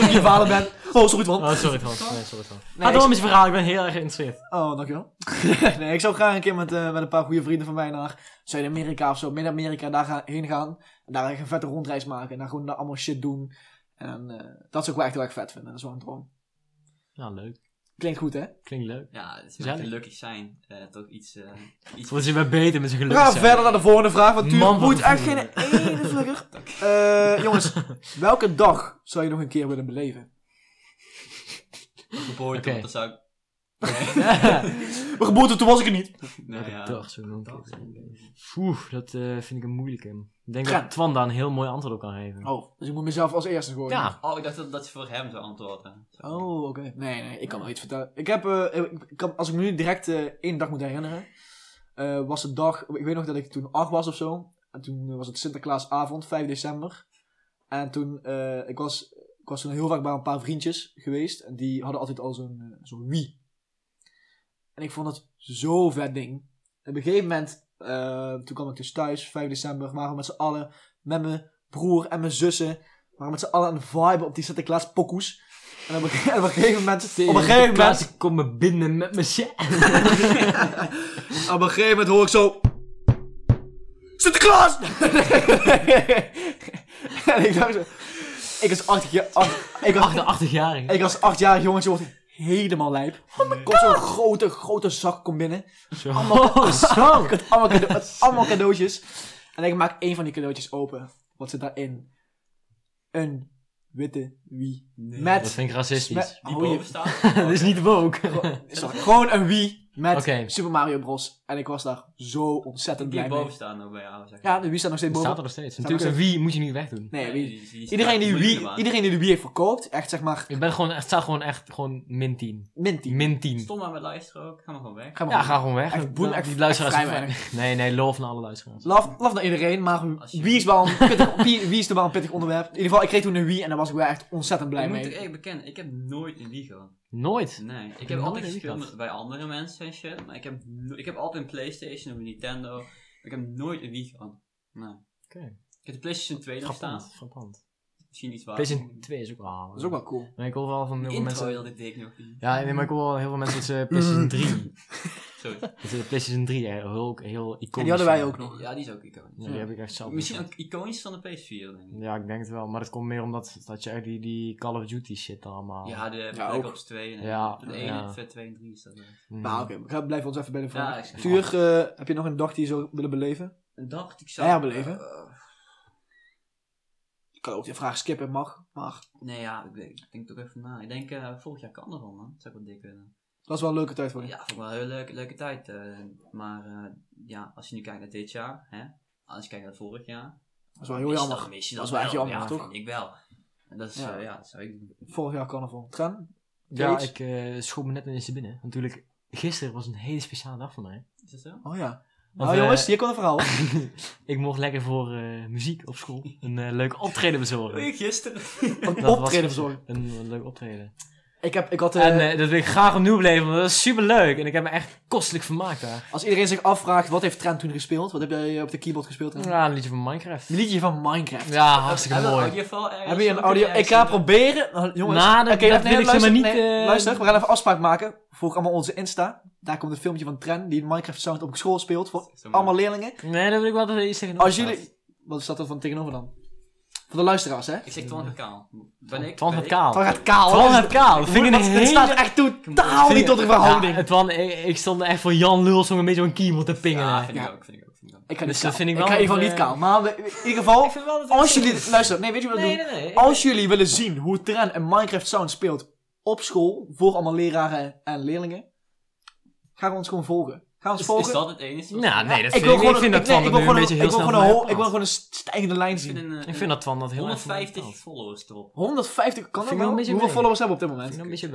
dat je vader bent. Oh, sorry Twan.
Oh, sorry Twan. Nee, sorry Twan.
Nee,
Ga
ik-
door met je verhaal. Ik ben heel erg geïnteresseerd.
Oh, dankjewel. <laughs> nee, ik zou graag een keer met, eh, met een paar goede vrienden van mij naar Zuid-Amerika of zo, Midden-Amerika, daar gaan, heen gaan. En daar echt een vette rondreis maken. En daar gewoon daar allemaal shit doen. En eh, dat zou ik wel echt heel erg vet vinden. Dat is wel een droom.
Nou, leuk.
Klinkt goed, hè?
Klinkt leuk.
Ja, het is
Gezellig.
wel gelukkig zijn. eh, toch iets... eh, iets
Volgens mij beter met zijn
We
geluk.
gaan <laughs> verder naar de volgende vraag, want
eh, Man,
Tuur
wat
moet
een
echt geen
vuur.
ene
<laughs>
flikker. Eh, jongens, welke dag zou je nog een keer willen beleven?
geboorte,
Oké.
want dat zou ik...
Mijn geboorte, toen was ik er niet.
Nou ja.
Dag, zo noemt hij het. Oeh, dat eh, vind ik een moeilijke. Ik denk
Trent.
dat Twan daar een heel mooi antwoord op kan geven.
Oh, dus ik moet mezelf als eerste gooien.
Ja,
Oh, ik dacht dat, dat ze voor hem zou antwoorden. Zo.
Oh, oké. Nee, nee, ik kan wel iets vertellen. Ik heb, eh, ik ik kan, als ik me nu direct eh, één dag moet herinneren, eh, was de dag, ik weet nog dat ik toen acht was of zo. En toen was het Sinterklaasavond, 5 december. En toen, eh, ik was, ik was toen heel vaak bij een paar vriendjes geweest. En die hadden altijd al zo'n eh, zo'n Wii. En ik vond dat zo vet ding. En op een gegeven moment, eh, toen kwam ik dus thuis, 5 december, waren we met z'n allen, met mijn broer en mijn zussen, waren we met z'n allen aan het viben op die Sinterklaas pokoes. En op een, ge- <laughs> en op een gegeven moment, op een gegeven moment,
Ik kom me binnen met mijn shit.
op een gegeven moment hoor ik zo... Sinterklaas! <laughs> en ik dacht zo... Ik was acht jaar... acht- ik, was,
88 jarige
ik was achtjarig jongetje, wordt helemaal lijp. Komt zo'n grote, grote zak komt binnen. <laughs>
Zo.
allemaal-
zo.
Ik had allemaal, cade- had allemaal cadeautjes. En ik maak één van die cadeautjes open. Wat zit daarin? Een witte Wii.
Nee.
Met...
Dat vind ik racistisch.
met- <laughs>
Die <laughs> Oh,
hou je-
boven staat.
Dat is niet woke.
Sorry, gewoon een Wii met
Oké.
Super Mario Bros. En ik was daar zo ontzettend
Die
blij mee.
boven staan nou bij jou, zeg
Ja,
maar.
de Wii staat nog steeds
<laughs> Die
boven.
staat er nog steeds.
Staat
Natuurlijk,
nog
een Wii moet je niet wegdoen.
Nee, Wii.
die- die staat
Iedereen die, de
moeilijk te
Wii,
maken.
iedereen die de Wii heeft verkoopt, echt zeg maar,
Je bent gewoon, het staat gewoon echt gewoon min 10.
min 10.
Min 10.
Stom maar met luisteren ook, ga maar gewoon weg.
Ga maar
Ja,
gewoon.
ga gewoon weg.
Echt boem,
Dan-
echt-
die luisteraars
echt vrij
zijn- Nee, nee, love naar alle luisteraars.
Love, love naar iedereen, maar
Als je-
Wii is, wel een pittig, <laughs> wie, wie is er wel een pittig onderwerp. In ieder geval, ik kreeg toen een Wii en daar was ik wel echt ontzettend blij
Ik moet
mee.
er eerlijk bekennen, ik heb nooit een Wii gehad.
Nooit.
Nee, ik heb
nooit
altijd
een Wii
gespeeld
gehad.
met- bij andere mensen en shit, maar ik heb, no- ik heb altijd een Playstation of een Nintendo, maar ik heb nooit een Wii gehad. Nee.
Oké.
Ik heb de Playstation 2 nog staan.
Frappant. Frappant.
Misschien iets waar.
PlayStation 2 is ook wel...
Dat is ook wel cool.
Maar ik hoor wel van
De
heel veel
Ah. intro
mensen...
dat ik deed ik nog niet.
Ja, nee, maar ik hoor wel heel veel mensen dat ze
Mm.
PlayStation 3...
Sorry.
<laughs> dat ze PlayStation 3 hè, ook heel iconisch
En die hadden wij
vinden.
ook nog.
Ja, die is ook iconisch.
Ja, die heb ik echt zelf.
Misschien
ook.
ook iconisch van de PS4, denk ik.
Ja, ik denk het wel. Maar dat komt meer omdat dat je echt die, die Call of Duty shit allemaal...
Ja, de
Ja,
Black
ook.
Ops 2. En
Ja,
De
ja.
1, 2 en 3 is dat. wel.
Mm.
Nou, oké, we gaan- blijven ons even bij de
Ja,
vraag.
ik-
Tuur, eh, heb je nog een dag die je zou willen beleven?
Een dag, ik zou...
Herbeleven?
eh,
Ik kan ook die vraag skippen, mag. Maar
nee, ja, ik, denk- ik denk toch even na. Ik denk, eh, vorig jaar kan er wel, man. Dat zou ik wel dik willen.
dat was wel een leuke tijd voor je.
Ja, vond ik wel een hele leuke, leuke tijd. eh, maar eh, ja, als je nu kijkt naar dit jaar, hè. Als je kijkt naar vorig jaar.
Dat is wel heel
mis je
jammer.
Dat, mis je
Dat
dat
is wel echt
wel,
jammer,
ja,
toch?
vind ik wel. En Dat is, eh,
Ja.
ja, ja dat zou ik doen.
Vorig jaar carnaval. Tran?
Ja,
Zoiets?
ik eh schoot me net ineens te binnen. Natuurlijk, gisteren was een hele speciale dag voor mij.
Is dat zo?
Oh ja.
Want,
nou
eh,
jongens, hier komt een
<laughs>
verhaal.
ik mocht lekker voor eh, muziek op school een eh, leuke
<laughs>
optreden bezorgen.
Gisteren.
Een
Dat was
optreden verzorgen.
Een, een leuk optreden.
Ik, heb, ik had, eh,
en eh, dat wil ik graag opnieuw beleven, want dat is super leuk. En ik heb me echt kostelijk vermaakt daar.
als iedereen zich afvraagt, wat heeft Tran toen gespeeld? Wat heb jij op de keyboard gespeeld? Tran?
Ja, een liedje van Minecraft.
Een liedje van Minecraft.
Ja, hartstikke
Hebben we
mooi.
een audiofile ergens?
Heb je een
Ook
audio?
ergens
Ik ga
in de-
proberen. Nou, jongens,
Nou, dat-
oké,
dat wil ik zeg maar niet,
nee,
eh,
luister, we gaan even afspraak maken. Volg allemaal onze Insta. Daar komt een filmpje van Tran die Minecraft Sound op school speelt. Voor
Zo mooi.
allemaal leerlingen.
Nee, daar wil ik wel even iets tegen
Als jullie. Wat staat er van tegenover dan? Van de luisteraars, hè?
Ik zeg Twan van Kaal. Ben ik?
Twan
ben
het
ik?
Kaal.
Van gaat kaal.
Twan
hè?
het Kaal. Dat vind ik
Wat-
een
dit staat
hele...
echt totaal niet tot de verhouding.
Ja, Twan, ik, ik stond echt voor Jan Lulsong een beetje op een keyboard te pingen.
Ja, vind
Ja.
ik ook, vind ik ook. Vind ik ook.
Ik ga
Dus
niet
dat
kaal.
vind ik
ik
wel
ga in ieder geval
dat,
niet
eh,
kaal. Maar we- in ieder geval,
vind wel dat
als jullie... Luister, nee, weet je wat we
Nee,
doen?
nee, nee.
Als jullie willen zien hoe Tran een Minecraft Sound speelt op school, voor allemaal leraren en leerlingen, ga ons gewoon volgen. Ga ons
Is,
volgen.
is dat het enige?
Nou, nee, dat
ik
vind
wil
ik,
gewoon
ik vind dat
ik- nee,
Twan
ik wil
dat nu een
gewoon een- ik
beetje heel
wil
snel
gewoon een
van
ho-
mij
Ik wil
afhaalt.
gewoon een stijgende lijn
Ik
zien.
vind een, eh,
Ik vind dat Twan dat heel erg van mij
150
afhaalt.
followers erop.
150 kan
Vind
dat
ik wel
wel?
een beetje
Hoeveel
mee.
followers hebben we op dit
Ik vind
moment?
dat een beetje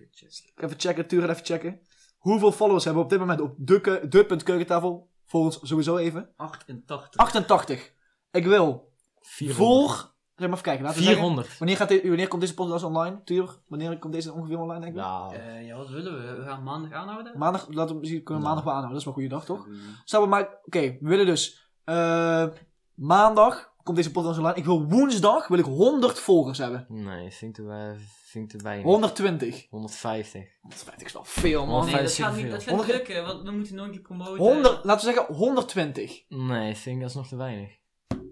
weinig.
Even checken, Turen even checken. Hoeveel followers hebben we op dit moment op de keu- de.keukentafel? Volg ons sowieso even.
88.
88. Ik wil
400.
voor... Zeg maar even kijken. laten we zeggen-
400.
Wanneer, gaat dit, wanneer komt deze podcast online? Tuur, wanneer komt deze ongeveer online, denk ik?
Ja.
Eh, ja, wat willen we? We gaan maandag aanhouden?
Maandag, laten we misschien kunnen we
Ja.
maandag wel aanhouden. Dat is wel een goede dag, toch? Stel we maar, oké, we willen dus eh, maandag komt deze podcast online. Ik wil woensdag wil ik 100 volgers hebben.
Nee, vind ik te, wei- vind ik te weinig.
120.
150.
150 is wel veel, man.
Nee,
Nee, dat
150
gaat niet,
veel.
dat gaat niet
Honderd-
lukken, want we moeten nog een keer promoten.
100, laten we zeggen 120.
Nee, vind ik dat is nog te weinig.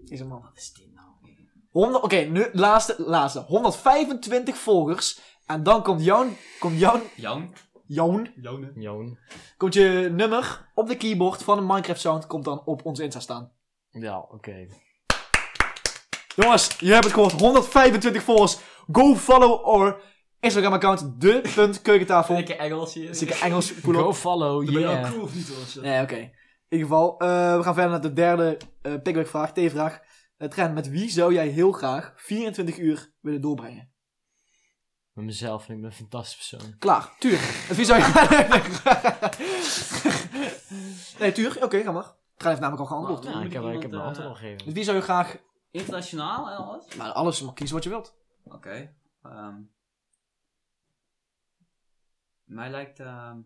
Is een man.
Wat is dit nou? weer?
100, oké, nu laatste, laatste. 125 volgers. En dan komt jouw, komt jouw,
Jan?
jouw,
Jan?
Joon.
komt je nummer op de keyboard van een Minecraft sound, komt dan op ons Insta staan.
Ja, oké.
Jongens, je hebt het gehoord. 125 volgers. Go follow our Instagram account. De.keukentafel.
Vind ik Engels hier?
Zeker Engels. cool op.
Go follow,
Dat ben je wel
yeah.
cool of niet, hoor.
Nee, oké. In ieder geval, eh, we gaan verder naar de derde eh pickwick vraag, T-vraag. Eh, Trent, met wie zou jij heel graag 24 uur willen doorbrengen?
Met mezelf, ik ben een fantastisch persoon.
Klaar, Tuur. Met wie zou je... <laughs> nee, Tuur, oké, ga maar. Trent heeft namelijk al geantwoord.
Dan
Ja,
moet
ik
ik
heb, ik
iemand,
heb mijn
eh,
antwoord al gegeven.
Met wie zou je graag...
Internationaal en alles?
Nou, alles, maar kies wat je wilt.
Oké. ehm. mij lijkt ehm,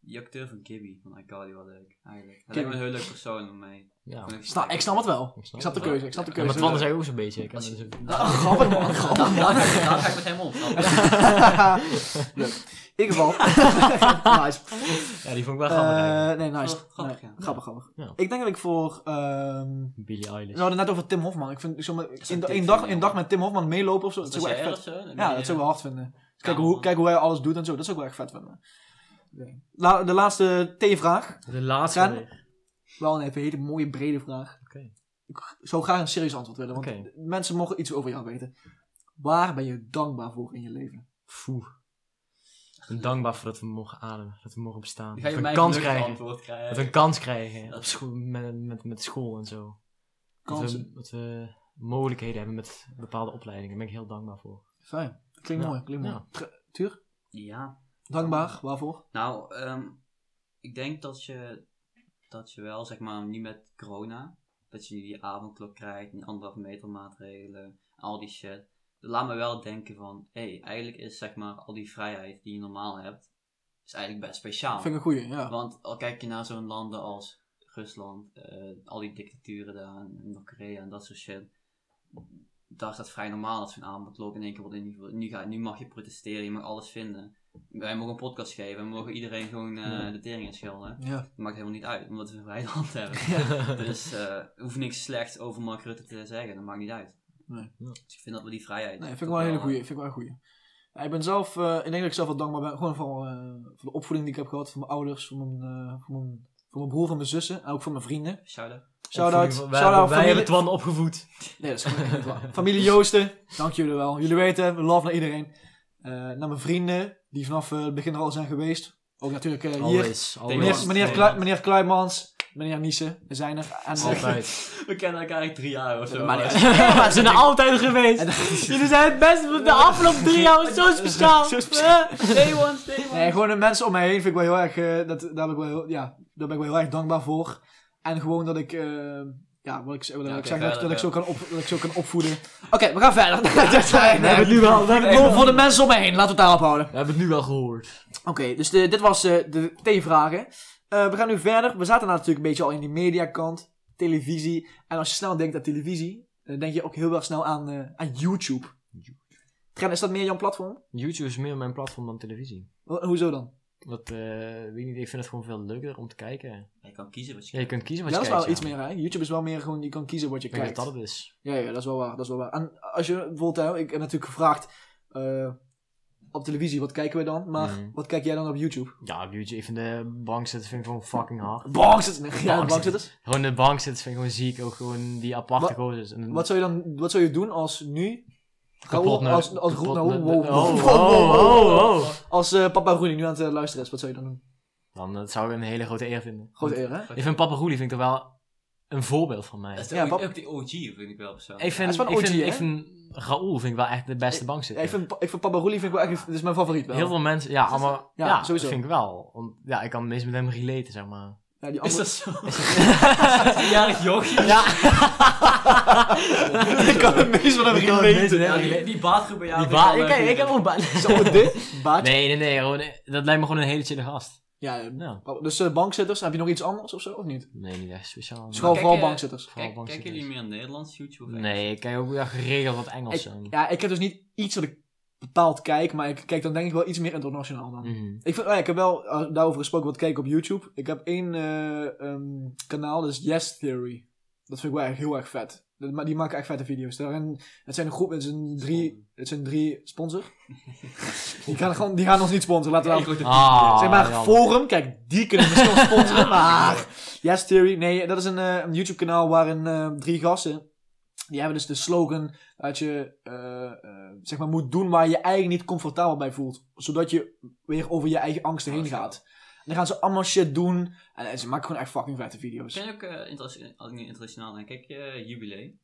die acteur van Gibby van iCarly wel leuk, eigenlijk.
Gibby.
Hij lijkt me een heel leuk persoon om mee.
Ja.
Gewoon een
Ik snap, ik snap het
<laughs>
wel.
Ik snap
Ik snap de
het wel.
keuze, ik snap de
Ja,
keuze.
maar Twan is eigenlijk ook zo'n beetje. Ik heb
Als je-
dus-
Ah, grappig man,
gesprek.
grappig man.
Daar ga ik- daar nou, ga ik met hem om. snap je?
<laughs> Leuk. In ieder geval. <laughs> nice.
Ja, die vond ik wel grappig eigenlijk.
Eh, nee, nice.
Oh, grappig,
Nee,
ja.
grappig, grappig.
Ja.
Ik denk dat ik voor... ehm
Billie
we
Eilish.
hadden het net over Tim Hofman. Ik vind zo
is
een,
een dik
een, dag,
van
een
jou.
dag met Tim Hofman meelopen of zo.
Dat
Dat zou ik
jij
wel
er
echt vet.
of zo? Dan ben
Ja,
je-
dat zou ik wel hard vinden. Dus kijken,
man.
hoe, kijken hoe hij alles doet en zo. Dat zou ik wel echt vet vinden. Nee. La- de laatste T-vraag.
De laatste.
Gaan-
weer.
Wel een even hele mooie brede vraag.
Oké.
Ik zou graag een serieus antwoord willen. Want
Oké.
mensen mogen iets over jou weten. Waar ben je dankbaar voor in je leven?
Foe. ben dankbaar voor dat we mogen ademen, dat we mogen bestaan.
Dan ga
Dat
je
we
mij
een
een
kans
gelukkig
krijgen.
antwoord
Dat
krijgen.
we een kans krijgen
Dat-
op school, met, met, met school en zo. Dat
Kansen.
we, dat we mogelijkheden hebben met bepaalde opleidingen. Daar ben ik heel dankbaar
<laughs>
voor.
Fijn. Klinkt
Ja.
mooi, klinkt mooi.
Ja.
Tr- Tuur,
Ja.
dankbaar. Waarvoor?
Nou, ehm, ik denk dat je, dat je wel, zeg maar, nu met corona, dat je die avondklok krijgt, die anderhalve meter maatregelen, al die shit. Dat laat me wel denken van, hé, hey, eigenlijk is zeg maar al die vrijheid die je normaal hebt, is eigenlijk best speciaal.
Vind ik een goeie, ja.
Want al kijk je naar zo'n landen als Rusland, eh, al die dictaturen daar, en Noord-Korea en dat soort shit. Daar is dat vrij normaal dat zo'n avondklok in één keer wordt ingevoerd. Nu, ga, nu mag je protesteren, je mag alles vinden. Wij mogen een podcast geven, we mogen iedereen gewoon eh,
Ja.
de tering in schelden.
Ja,
Dat maakt helemaal niet uit, omdat we een vrije hand
<laughs>
hebben. Dus eh hoef niks slechts over Mark Rutte te zeggen, dat maakt niet uit.
Nee.
Dus ik vind dat we die vrijheid.
nee, vind ik
toch
wel een hele
hebben.
goeie. Vind ik wel een goeie. Ja, ik ben zelf, eh, ik denk dat ik zelf wel dankbaar ben. Gewoon voor, eh, voor de opvoeding die ik heb gehad. Van mijn ouders, van mijn, eh, van mijn, van mijn broer, van mijn zussen. En ook van mijn vrienden.
eh, Shout-out.
Shout-out.
Opvoeding van- wij
Shout-out.
wij hebben
Familie,
Twan opgevoed.
nee, dat is gewoon echt niet
<laughs>
waar. familie Joosten. Dank jullie wel. Jullie weten, love naar iedereen. Eh, naar mijn vrienden, die vanaf eh, het begin er al zijn geweest. Ook natuurlijk eh, hier.
Always.
Meneer,
always.
meneer,
Always.
Klui- meneer Kluimans, meneer Niesen. We zijn er. En, eh,
Altijd.
We kennen elkaar eigenlijk drie jaar of zo.
Maar
<laughs>
niet-
Ja, we zijn er altijd geweest.
<laughs> En- <laughs>
Jullie zijn het beste van de afgelopen drie jaar. was Zo speciaal.
Zo
Stay one, stay one.
Nee, gewoon de mensen om mij heen vind ik wel heel erg, eh, dat, daar, ben ik wel heel, ja, daar ben ik wel heel erg dankbaar voor. En gewoon dat ik, eh, ja, wat ik, wat
Ja,
ik
oké,
zeg, dat,
verder,
dat, ik
ja.
zo kan op, dat ik zo kan opvoeden. Oké, we gaan <laughs> verder. Dat zijn,
We hebben het nu wel, we hebben het
Voor
nu-
de mensen om mij heen, laten we het daarop houden.
we hebben het nu wel gehoord.
Oké, dus de- dit was eh, de T-vragen. Eh, we gaan nu verder. We zaten nou natuurlijk een beetje al in die mediakant, televisie. En als je snel denkt aan televisie, dan denk je ook heel erg snel aan, eh, aan YouTube. Trent, is dat meer jouw platform?
YouTube is meer mijn platform dan televisie.
Ho- Hoezo dan?
Wat, eh, weet niet, ik vind het gewoon veel leuker om te kijken.
Je kan kiezen wat je
Ja, je kunt kiezen
Ja,
wat
dat
je
is wel
kijkt.
iets meer, hè? YouTube is wel meer gewoon, je kan kiezen wat je
Ik denk
kijkt.
dat dat het is.
Ja, ja, dat is wel waar. Dat is wel waar. En als je bijvoorbeeld, hè, ik heb natuurlijk gevraagd eh, op televisie, wat kijken we dan? Maar
Mhm.
wat kijk jij dan op YouTube?
Ja, op YouTube, even de bank zitten vind ik gewoon fucking hard.
Bankzitters. <laughs> Ja,
Bankzitters.
bankzitters.
Gewoon de bank zitten vind ik gewoon ziek. Ook gewoon die aparte
Wat-
gozers. En
Wat zou je dan, wat zou je doen als nu...
kapot
Raoul-
naar-
als, als,
kapot
nou,
naar-
wow,
Oh,
wow, <laughs>
oh,
wow, wow, wow.
oh, oh.
Als eh, papa Roelie nu aan het eh, luisteren is, wat zou je dan doen?
Dan dat zou ik een hele grote eer vinden.
Grote eer, hè?
Ik vind Papa Roelie vind ik toch wel een voorbeeld van mij.
Dat is
Ja,
ook,
pap-
ook die OG vind ik wel persoonlijk.
Ik
dat
vind,
is wel
ik
OG,
vind,
hè?
ik vind Raoul vind ik wel echt de beste
Ja,
bankzitter.
ik, vind, pa- ik vind papa Roelie vind ik wel echt, dit is mijn favoriet wel.
Heel veel mensen, ja, allemaal,
Ja,
ja,
sowieso.
vind ik wel. Want, ja, ik kan het meest met hem relaten, zeg maar.
Ja, die
Is
andere...
dat zo?
<laughs>
<laughs> Jarig jochie.
oh, Ja,
<laughs> ik kan het meest van hem
Ik kan het meest
relaten.
met
Ja,
hem
die,
relaten.
die baatgroep bij jou.
Die
vind ik
baan,
wel, eh,
kijk, ik
vind
heb
ik-
ook baan.
Zo, dit, baatje.
Nee, nee, nee, gewoon, eh, dat lijkt me gewoon een hele chille gast.
Ja, eh,
Ja.
papa- dus eh, bankzitters, heb je nog iets anders of zo, of niet?
Nee, niet echt speciaal. maar-
Dus gewoon
Kijk,
vooral
eh,
bankzitters.
Kijk,
Vooral
kijken jullie meer Nederlands YouTube? of Engels?
Oh, Nee, ik kijk ook wel geregeld wat Engels.
Ik-
en-
Ja, ik heb dus niet iets wat ik bepaald kijk, maar ik kijk dan denk ik wel iets meer internationaal dan.
Mhm.
Ik, vind, oh ja, ik heb wel eh, daarover gesproken wat kijken op YouTube. Ik heb één eh, ehm, kanaal, dat is Yes Theory. Dat vind ik wel echt heel erg vet. Dat- Maar die maken echt vette video's. Daarin, het zijn een groep, het zijn drie, het zijn drie sponsor. <laughs> die, gaan gewoon, die gaan ons niet sponsoren,
<laughs>
laten we
Ik
wel.
word er-
Ah,
Zeg maar,
jammer.
Forum, kijk, die kunnen misschien wel sponsoren, maar... Yes Theory, nee, dat is een, eh, een YouTube-kanaal waarin eh, drie gasten... Die hebben dus de slogan dat je, eh, eh, zeg maar, moet doen waar je je eigen niet comfortabel bij voelt. Zodat je weer over je eigen angsten heen gaat. En dan gaan ze allemaal shit doen. En, eh, ze maken gewoon echt fucking vette video's.
Ken je ook eh, interna- als ik nu internationaal denk, kijk je Jubilee?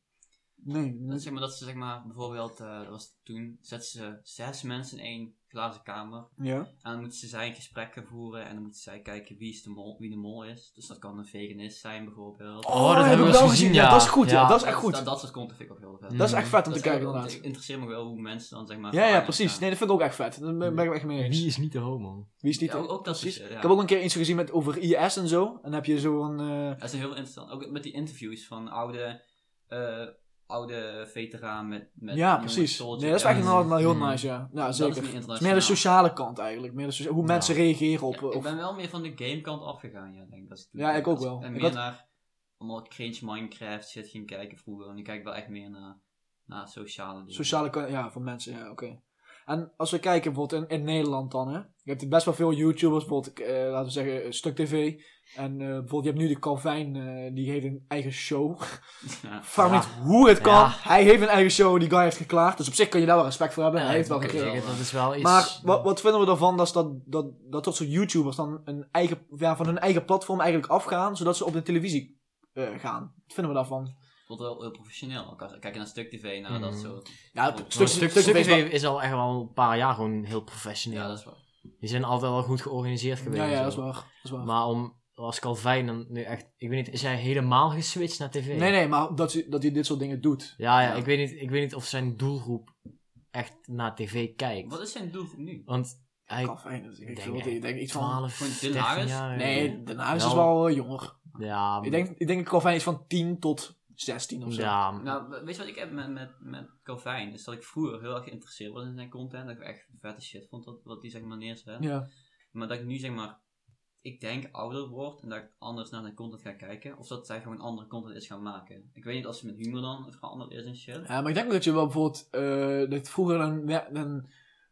Nee,
Dat, is
nee.
zeg maar, dat ze zeg maar bijvoorbeeld, eh, dat was toen, zetten ze zes mensen in één glazen kamer.
Ja.
En dan moeten ze zij gesprekken voeren en dan moeten zij kijken wie, is de mol, wie de mol is. Dus dat kan een veganist zijn bijvoorbeeld. Dus
Oh, dat hebben we
ik
wel gezien, ja.
Ah, dat is goed, ja.
Ja.
Dat is echt goed.
Dat, dat soort content vind ik ook heel vet.
Dat is echt vet om te
Dat is
kijken,
ook-
inderdaad.
Het interesseert me wel hoe mensen dan zeg maar...
Ja, ja,
verhangen
precies.
en-
Nee, dat vind ik ook echt vet. Daar ben ben ik echt mee eens.
Wie is niet de homo?
Wie is die
Ja, ook, ook dat
Precies.
precies. Dus, eh, Ja.
Ik heb ook een keer iets gezien met, over IS en zo. En dan heb je zo'n... eh,
Dat is heel interessant. Ook met die interviews van oude, eh, oude veteraan met, met
ja,
jonge
precies.
soldier.
Nee, dat is eigenlijk
Ja,
wel wel heel
Mm.
nice, ja. Ja,
dat is
zeker.
niet
Het is
internationaal.
meer de sociale kant eigenlijk. Meer de socia- hoe
Ja.
mensen reageren op...
Ja,
eh,
ik
op
ben wel meer van de gamekant afgegaan, ja, denk ik. Dat is
Ja, ik ook
dat is-
wel.
En
Ik
meer
had-
naar allemaal cringe Minecraft shit ging kijken vroeger. En nu kijk ik wel echt meer naar, naar sociale dingen.
sociale kant, ja, van mensen, ja, oké. En als we kijken bijvoorbeeld in, in Nederland dan, hè. Je hebt best wel veel YouTubers, bijvoorbeeld, eh, laten we zeggen, eh, Stuk TV. En eh, bijvoorbeeld, je hebt nu de Calvin, eh, die heeft een eigen show.
<laughs>
<laughs>
Ja.
Vraag me
Ja.
niet hoe het kan.
Ja.
Hij heeft een eigen show, die guy heeft geklaagd. Dus op zich kun je daar wel respect voor hebben. hij heeft wel
oké.
gekregen.
gekregen. Dat is wel iets...
Maar wat, wat vinden we ervan dat, dat, dat, dat tot soort YouTubers dan een eigen, ja, van hun eigen platform eigenlijk afgaan, zodat ze op de televisie eh, gaan? Wat vinden we daarvan?
Het wordt wel heel professioneel. ook als- Kijk naar Stuk TV, naar
Mhm.
Mm.
dat soort.
Ja,
Maar
Stuk,
stuk,
stuk,
stuk,
stuk
is wel-
TV is al echt wel een paar jaar gewoon heel professioneel.
Ja, dat is wel.
Die zijn altijd wel goed georganiseerd geweest.
Ja, ja,
en
dat is
zo.
waar. Dat is waar.
Maar om, als Calvin dan nu echt... Ik weet niet, is hij helemaal geswitcht naar tv?
nee, nee, maar dat, hij- dat hij dit soort dingen doet.
Ja, ja,
Ja.
Ik, weet niet, ik weet niet of zijn doelgroep echt naar tv kijkt.
Wat is zijn doelgroep nu?
Want hij...
Calvin, dat is- ik
denk
denk,
echt
ik denk iets van...
12,
Gewoon
13
Denarius?
jaar.
Nee, daarna is
Wel-
het wel eh, jonger.
Ja,
Ik denk, ik denk dat Calvin is van 10 tot 16 of zo.
ja,
Nou, we- weet je wat ik heb met, met, met Calvin? Is dat ik vroeger heel erg geïnteresseerd was in zijn content. Dat ik echt vette shit vond wat, wat die zeg maar neerzet.
Ja.
Maar dat ik nu zeg maar, ik denk ouder word en dat ik anders naar zijn content ga kijken. Of dat zij gewoon andere content is gaan maken. Ik weet niet of ze met humor dan veranderd is en shit.
Ja, maar ik denk ook dat je wel bijvoorbeeld... eh, dat vroeger dan, werd- dan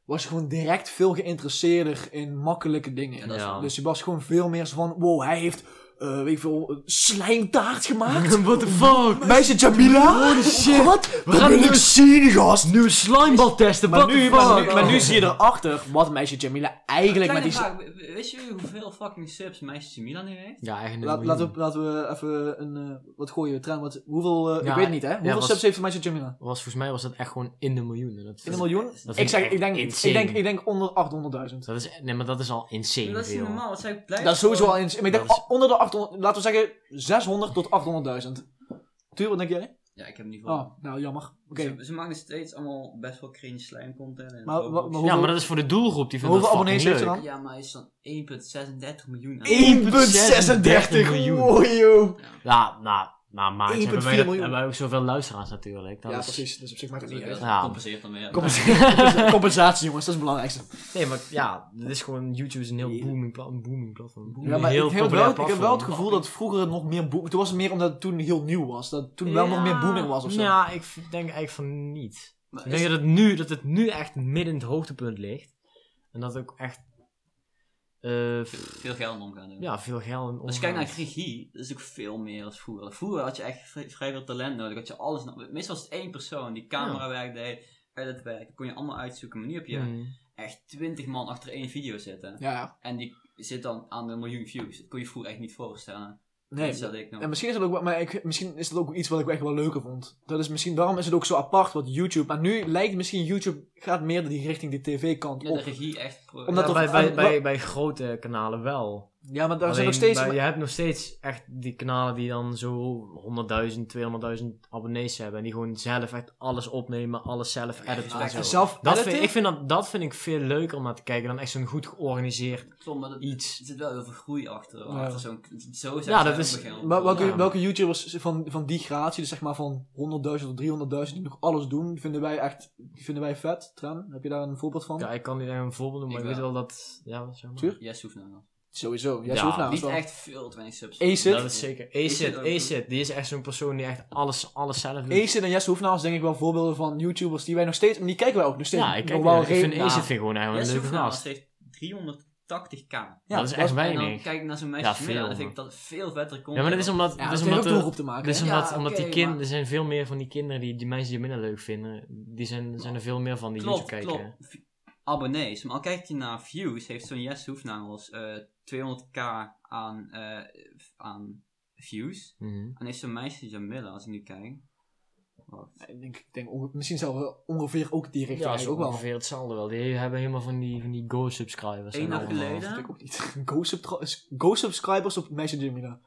was je gewoon direct veel geïnteresseerder in makkelijke dingen.
Ja, dat is
Ja.
wel-
Dus je was gewoon veel meer zo van... Wow, hij heeft, eh weet ik veel, een slijmtaart
<laughs>
gemaakt.
<laughs> What the fuck?
Meisje Jamila?
Holy shit.
Wat?
We gaan
Dat wil
nu-
ik zien, gast!
Nieuwe slimebal testen,
Maar
what the
nu,
fuck?
maar, nu, maar nu zie je erachter wat meisje Jamila eigenlijk met die...
Kleine vraag, we- we- wist je hoeveel fucking subs meisjes Milan nu heeft?
Ja, eigenlijk
Laat, laten, we, laten we even een... eh, wat gooien we? Trein, wat, hoeveel... eh,
Ja,
ik weet het niet, hè? Hoeveel
was-
subs heeft meisje Jamila?
was, Volgens mij was dat echt gewoon in de miljoenen. Dat
In een miljoen?
Dat
vind
Ik,
ik
zeg, ik, denk,
insane.
ik, denk, ik denk onder 800.000.
Dat is, nee, maar dat is al insane
dat is niet
veel.
normaal, wat zij blijft
Dat is sowieso al eens. maar Ik denk
Dat is-
onder de 800, laten we zeggen 600 tot 800.000. Tuur, wat denk jij?
Ja, ik heb hem niet voor.
Oh, nou jammer. Oké.
Ze, ze maken steeds allemaal best wel cringe slime content. En
Maar
zo.
wa- maar hoe-
Ja, maar dat is voor de doelgroep. Die vindt
Hoeveel
dat
abonnees
fucking
heeft ze
leuk.
dan?
Ja, maar hij is dan 1,36 miljoen. aan-
1,36 miljoen.
miljoen.
Ja, nou, nou maar ze
1,4
hebben wij, dat-
miljoen.
hebben wij ook zoveel luisteraars natuurlijk. Dat
Ja,
is-
precies. Dus op zich maakt
Dat
het
is
niet
ook-
uit.
Ja.
Dat compenseert dan weer.
<laughs>
Compensatie, <laughs> compensatie, jongens, dat is het belangrijkste.
Nee, maar ja, dit is gewoon, YouTube is een heel booming, pla een booming platform.
Ja,
Booming,
maar ik, heb
populair
wel, ik heb wel het
platform.
gevoel dat vroeger nog meer booming... Toen was het meer omdat het toen heel nieuw was. Dat toen wel nog meer
Ja,
booming was of zo.
Ja, ik v- denk eigenlijk van niet.
Maar
Ik denk dat het, nu, dat het nu echt midden in het hoogtepunt ligt. En dat ook echt eh,
is
f-
veel geld omgaan. doen. Dus
ja, veel geld in
Als
Dus
je kijkt naar
omgaat.
regie, dat is ook veel meer dan vroeger. Vroeger had je echt vri- vrij veel talent nodig. Had je alles, no- meestal was het één persoon die camerawerk deed, editwerk, dat kon je allemaal uitzoeken. Maar nu heb je
Mm.
echt twintig man achter één video zitten.
Ja, ja.
En die zit dan aan een miljoen views. Dat kon je vroeger echt niet voorstellen.
Nee,
Dus dat ik nog...
En misschien is dat ook, wel- maar ik, misschien is dat ook iets wat ik echt wel leuker vond. Dat is misschien, daarom is het ook zo apart wat YouTube. Maar nu lijkt misschien YouTube gaat meer die richting die tv-kant
Ja, de
op.
regie echt... pro-
Omdat dat-
Ja, bij, bij,
en-
bij, bij grote kanalen wel.
Ja, maar daar
Alleen,
zijn nog steeds.
bij- je hebt nog steeds echt die kanalen die dan zo 100.000, 200.000 abonnees hebben. En die gewoon zelf echt alles opnemen, alles zelf
Ja,
editen.
ja,
en zo.
zelf
Ah, dat
editen?
vind, ik vind dat, dat vind ik veel leuker om naar te kijken dan echt zo'n goed georganiseerd
Klopt, maar dat-
iets.
er zit wel heel veel groei achter.
Ja.
achter zo'n, zo
Ja,
zijn
dat is-
Maar welke,
Ja.
welke YouTubers van, van die gratie, dus zeg maar van 100.000 tot 300.000 die nog alles doen, vinden wij echt die vinden wij vet. Tran, heb je daar een voorbeeld van?
Ja, ik kan niet echt een voorbeeld noemen, maar
Ik
ik, weet wel dat... Ja, zeg maar.
Tuur?
Yes, hoeft nou.
Sowieso. Jij
Ja,
zoekt naar
Niet
wel.
echt veel te weinig subs.
Acid?
Dat is zeker. Acid,
ook-
Acid, die is echt zo'n persoon die echt alles, alles zelf doet.
Acid en Jesse Hoefnaars denk ik wel voorbeelden van YouTubers die wij nog steeds, en die kijken wij ook nog steeds.
ja, ik,
nog
kijk,
wel
ik vind
redelijk-
Acid vind ik gewoon eigenlijk
Yes,
een leuke
hoeft nou.
gast.
Ze heeft 380k.
Ja,
dat is echt
En dan
weinig.
kijk ik naar zo'n meisje
Ja,
meer,
veel,
dan vind
maar-
ik dat veel vetter
Ja,
content.
maar dat is omdat...
Ja,
dat
dat
is
heeft
omdat
ook
de-
doelgroep te maken.
Dat is
hè?
Ja,
Dus omdat, omdat die
oké,
kind,
maar-
er zijn veel meer van die kinderen die, die mensen die minder leuk vinden, die zijn, zijn er veel meer van die
Klopt,
YouTube kijken.
klopt. V- Abonnees. Maar al kijk je naar views, heeft zo'n Yes Hoeft nou als eh, 200k aan, eh, f- aan views.
Mhm.
En heeft zo'n meisje Jamila, als ik nu kijk. Wacht.
Ik denk, ik denk onge- misschien zelfs wel ongeveer ook die richting
Ja, dat is
eigenlijk ook wel.
ongeveer hetzelfde wel. Die hebben helemaal van die, van die go-subscribers.
Eén
en
dag
allemaal.
geleden?
Dat vind ik ook niet. <laughs> Go-subscribers go subscribers op Meisje Jamila.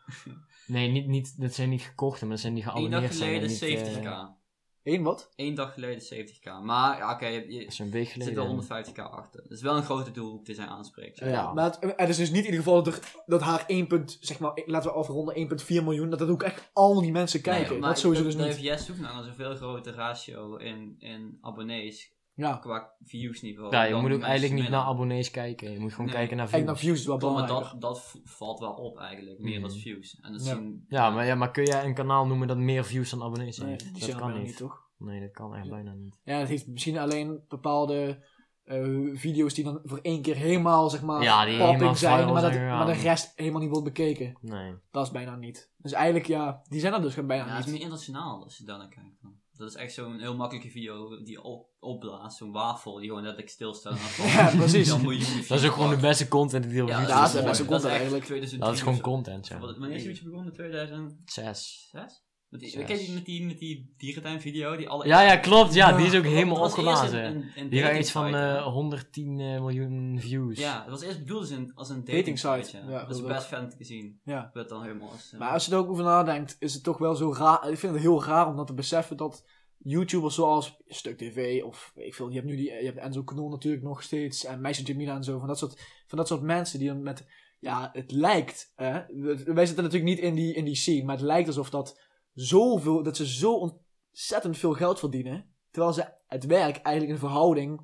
Nee, niet, niet, dat zijn niet gekochte, maar dat zijn die
Eén dag
geabonneerd zijn.
geleden
en niet, eh,
70k.
Eén wat?
Eén dag geleden 70k. Maar ja, oké, je, je-
Dat is een week
er zit
geleden.
wel 150k achter. Dat is wel een grote doelgroep die zij aanspreekt.
Ja. Ja.
Maar het, het is dus niet in ieder geval dat, er- dat haar 1. Punt, zeg maar, eh, laten we afronden 1,4 miljoen, dat dat ook echt al die mensen kijken.
maar
dat sowieso dus
Dan
niet.
heeft Yes Hoeft nou een veel grotere ratio in, in abonnees
Ja,
qua views niveau.
Ja, je
dan
moet ook
mensen
eigenlijk niet
minder.
naar abonnees kijken. Je moet gewoon
Nee.
kijken naar
en
views.
naar nou, views is wel
Klopt, maar
belangrijk.
dat, dat v- valt wel op eigenlijk, meer
Mhm.
als views. En dat
Ja.
zien...
Ja, maar, ja, maar kun jij een kanaal noemen dat meer views dan abonnees
Nee,
heeft?
die zijn
dat
er
kan
bijna
niet.
niet, toch?
Nee, dat kan echt bijna niet.
Ja, het heeft misschien alleen bepaalde eh, eh, video's die dan voor één keer helemaal, zeg maar,
Ja, die
popping
helemaal
zijn,
viral
maar, dat,
zijn gegaan.
maar de rest helemaal niet wordt bekeken.
Nee.
Dat is bijna niet. Dus eigenlijk, ja, die zijn er dus bijna
Ja, het is
niet.
meer internationaal als je daar naar kijkt. Dan. Dat is echt zo'n heel makkelijke video die op, opblaast. Zo'n wafel die gewoon letterlijk
<laughs>
stilstaat. en dan
Ja, precies.
Dan moet je
Dat is ook gewoon de beste content die er op
Ja,
YouTube
dat
is.
is de beste
dat is
content
echt
eigenlijk.
2003
Dat is gewoon
of zo.
content, ja.
Wat- Wanneer is het begonnen? in 2006?
Zes.
Met die,
Zes.
ken je die met die, met die dierentuin video? Die alle
Ja, ja, klopt. Ja,
Ja,
die is ook
Dat-
helemaal
dat was eerst
opgeblazen.
een- een- een
Die waren
dating
iets van
site, hè?
eh 110 miljoen views.
Ja, het was eerst bedoeld als een, als een dating,
Dating site,
site.
ja,
dat is
dat
best fan te zien.
Ja.
Werd dan helemaal als, eh,
Maar als je er ook over nadenkt, is het toch wel zo raar. Ik vind het heel raar om dan te beseffen dat YouTubers zoals Stuk TV of weet ik veel, je hebt nu die, je hebt Enzo Knol natuurlijk nog steeds en Meisje Jamila en zo van dat soort, van dat soort mensen die dan met, ja, het lijkt, hè, we- wij zitten natuurlijk niet in die, in die scene, maar het lijkt alsof dat zoveel, dat ze zo ontzettend veel geld verdienen, terwijl ze het werk eigenlijk in verhouding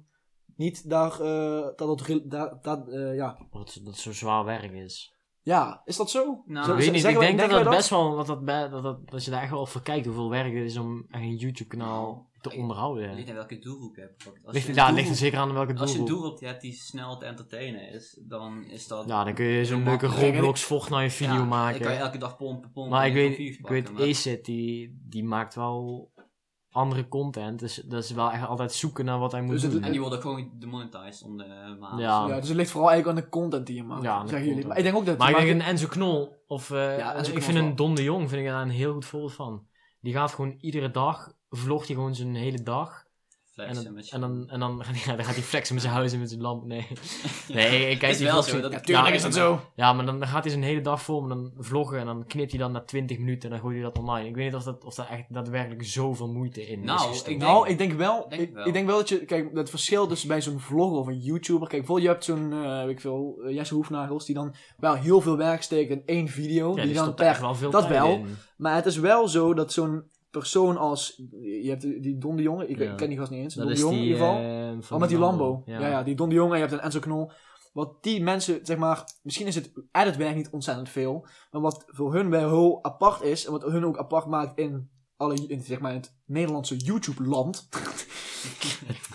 niet daar, eh, dat, het re- daar, dat, eh, ja.
Wat dat zo zwaar werk is.
ja, is dat zo?
Nou,
Zo-
ik weet
zeggen
niet,
wij-
ik denk dat
denken wij
dat best wel, dat, dat, be- dat, dat, dat je daar echt wel voor kijkt hoeveel werk het is om echt een YouTube kanaal te
Ik-
onderhouden.
Ligt aan welke doelgroep je hebt. ook. Als
Nou, Ligt,
je
ja,
een
ligt er
doelgroep-
zeker aan welke
Als je een
doelgroep.
doelgroep hebt die snel te entertainen is, dan is dat...
Ja, dan kun je zo'n leuke
Kijk, en ik-
Roblox Fortnite video
Ja,
maken.
Dan kan je elke dag pompen, pompen.
maar
en
ik
je kan
weet,
views
ik
pakken,
weet
maar-
Acid, die, die maakt wel andere content. Dus dat is wel echt altijd zoeken naar wat hij moet
Dus het-
doen.
En die worden ook gewoon demonetized om de maand.
Ja.
Ja, dus het ligt vooral eigenlijk aan de content die je maakt.
Ja, aan de
zeggen jullie.
content.
Maar ik denk ook dat.
Maar ik
maar
denk een Enzo Knol, of eh,
Ja, Enzo
ik
Knol
vind
wel.
een Don de Jong vind ik daar een heel goed voorbeeld van. Die gaat gewoon iedere dag, vlogt hij gewoon zijn hele dag. En
Flexen
dan,
met je-
en dan, en dan, <laughs> ja, dan gaat hij flexen met zijn huis en met zijn lamp.
<laughs>
Nee, nee ik, ik kijk
Is
die
wel
vlogs-
zo, dat-
tuurlijk
ja,
is dat
en-
zo.
Ja, maar dan, dan gaat hij zijn hele dag vol en dan vloggen en dan knipt hij dan na 20 minuten en dan gooit hij dat online. Ik weet niet of dat, of dat echt daadwerkelijk zoveel moeite in
Nou,
is gestoken.
ik denk-
Nou, ik denk wel.
Denk
ik,
wel.
ik denk wel dat je. Kijk, het verschil tussen bij zo'n vlogger of een YouTuber. Kijk, bijvoorbeeld, je hebt zo'n. eh, weet ik veel. eh, Jesse Hoefnagels. Die dan wel heel veel werk steekt in één video.
ja,
die dan
stopt er echt
per.
wel veel
dat
tijd
wel.
in.
Maar het is wel zo dat zo'n persoon als. Je hebt die- die Don de Jonge. Ik,
Ja.
ik ken die gast niet eens.
Dat
Don de
is
Jonge
die,
in ieder geval.
eh, van
Oh, met die Lambo. Ja.
Ja.
Ja, die Don de Jong en je hebt een Enzo Knol. Wat die mensen, zeg maar, misschien is het editwerk niet ontzettend veel. Maar wat voor hun wel heel apart is, en wat hun ook apart maakt in, alle, in, zeg maar, in het Nederlandse YouTube-land,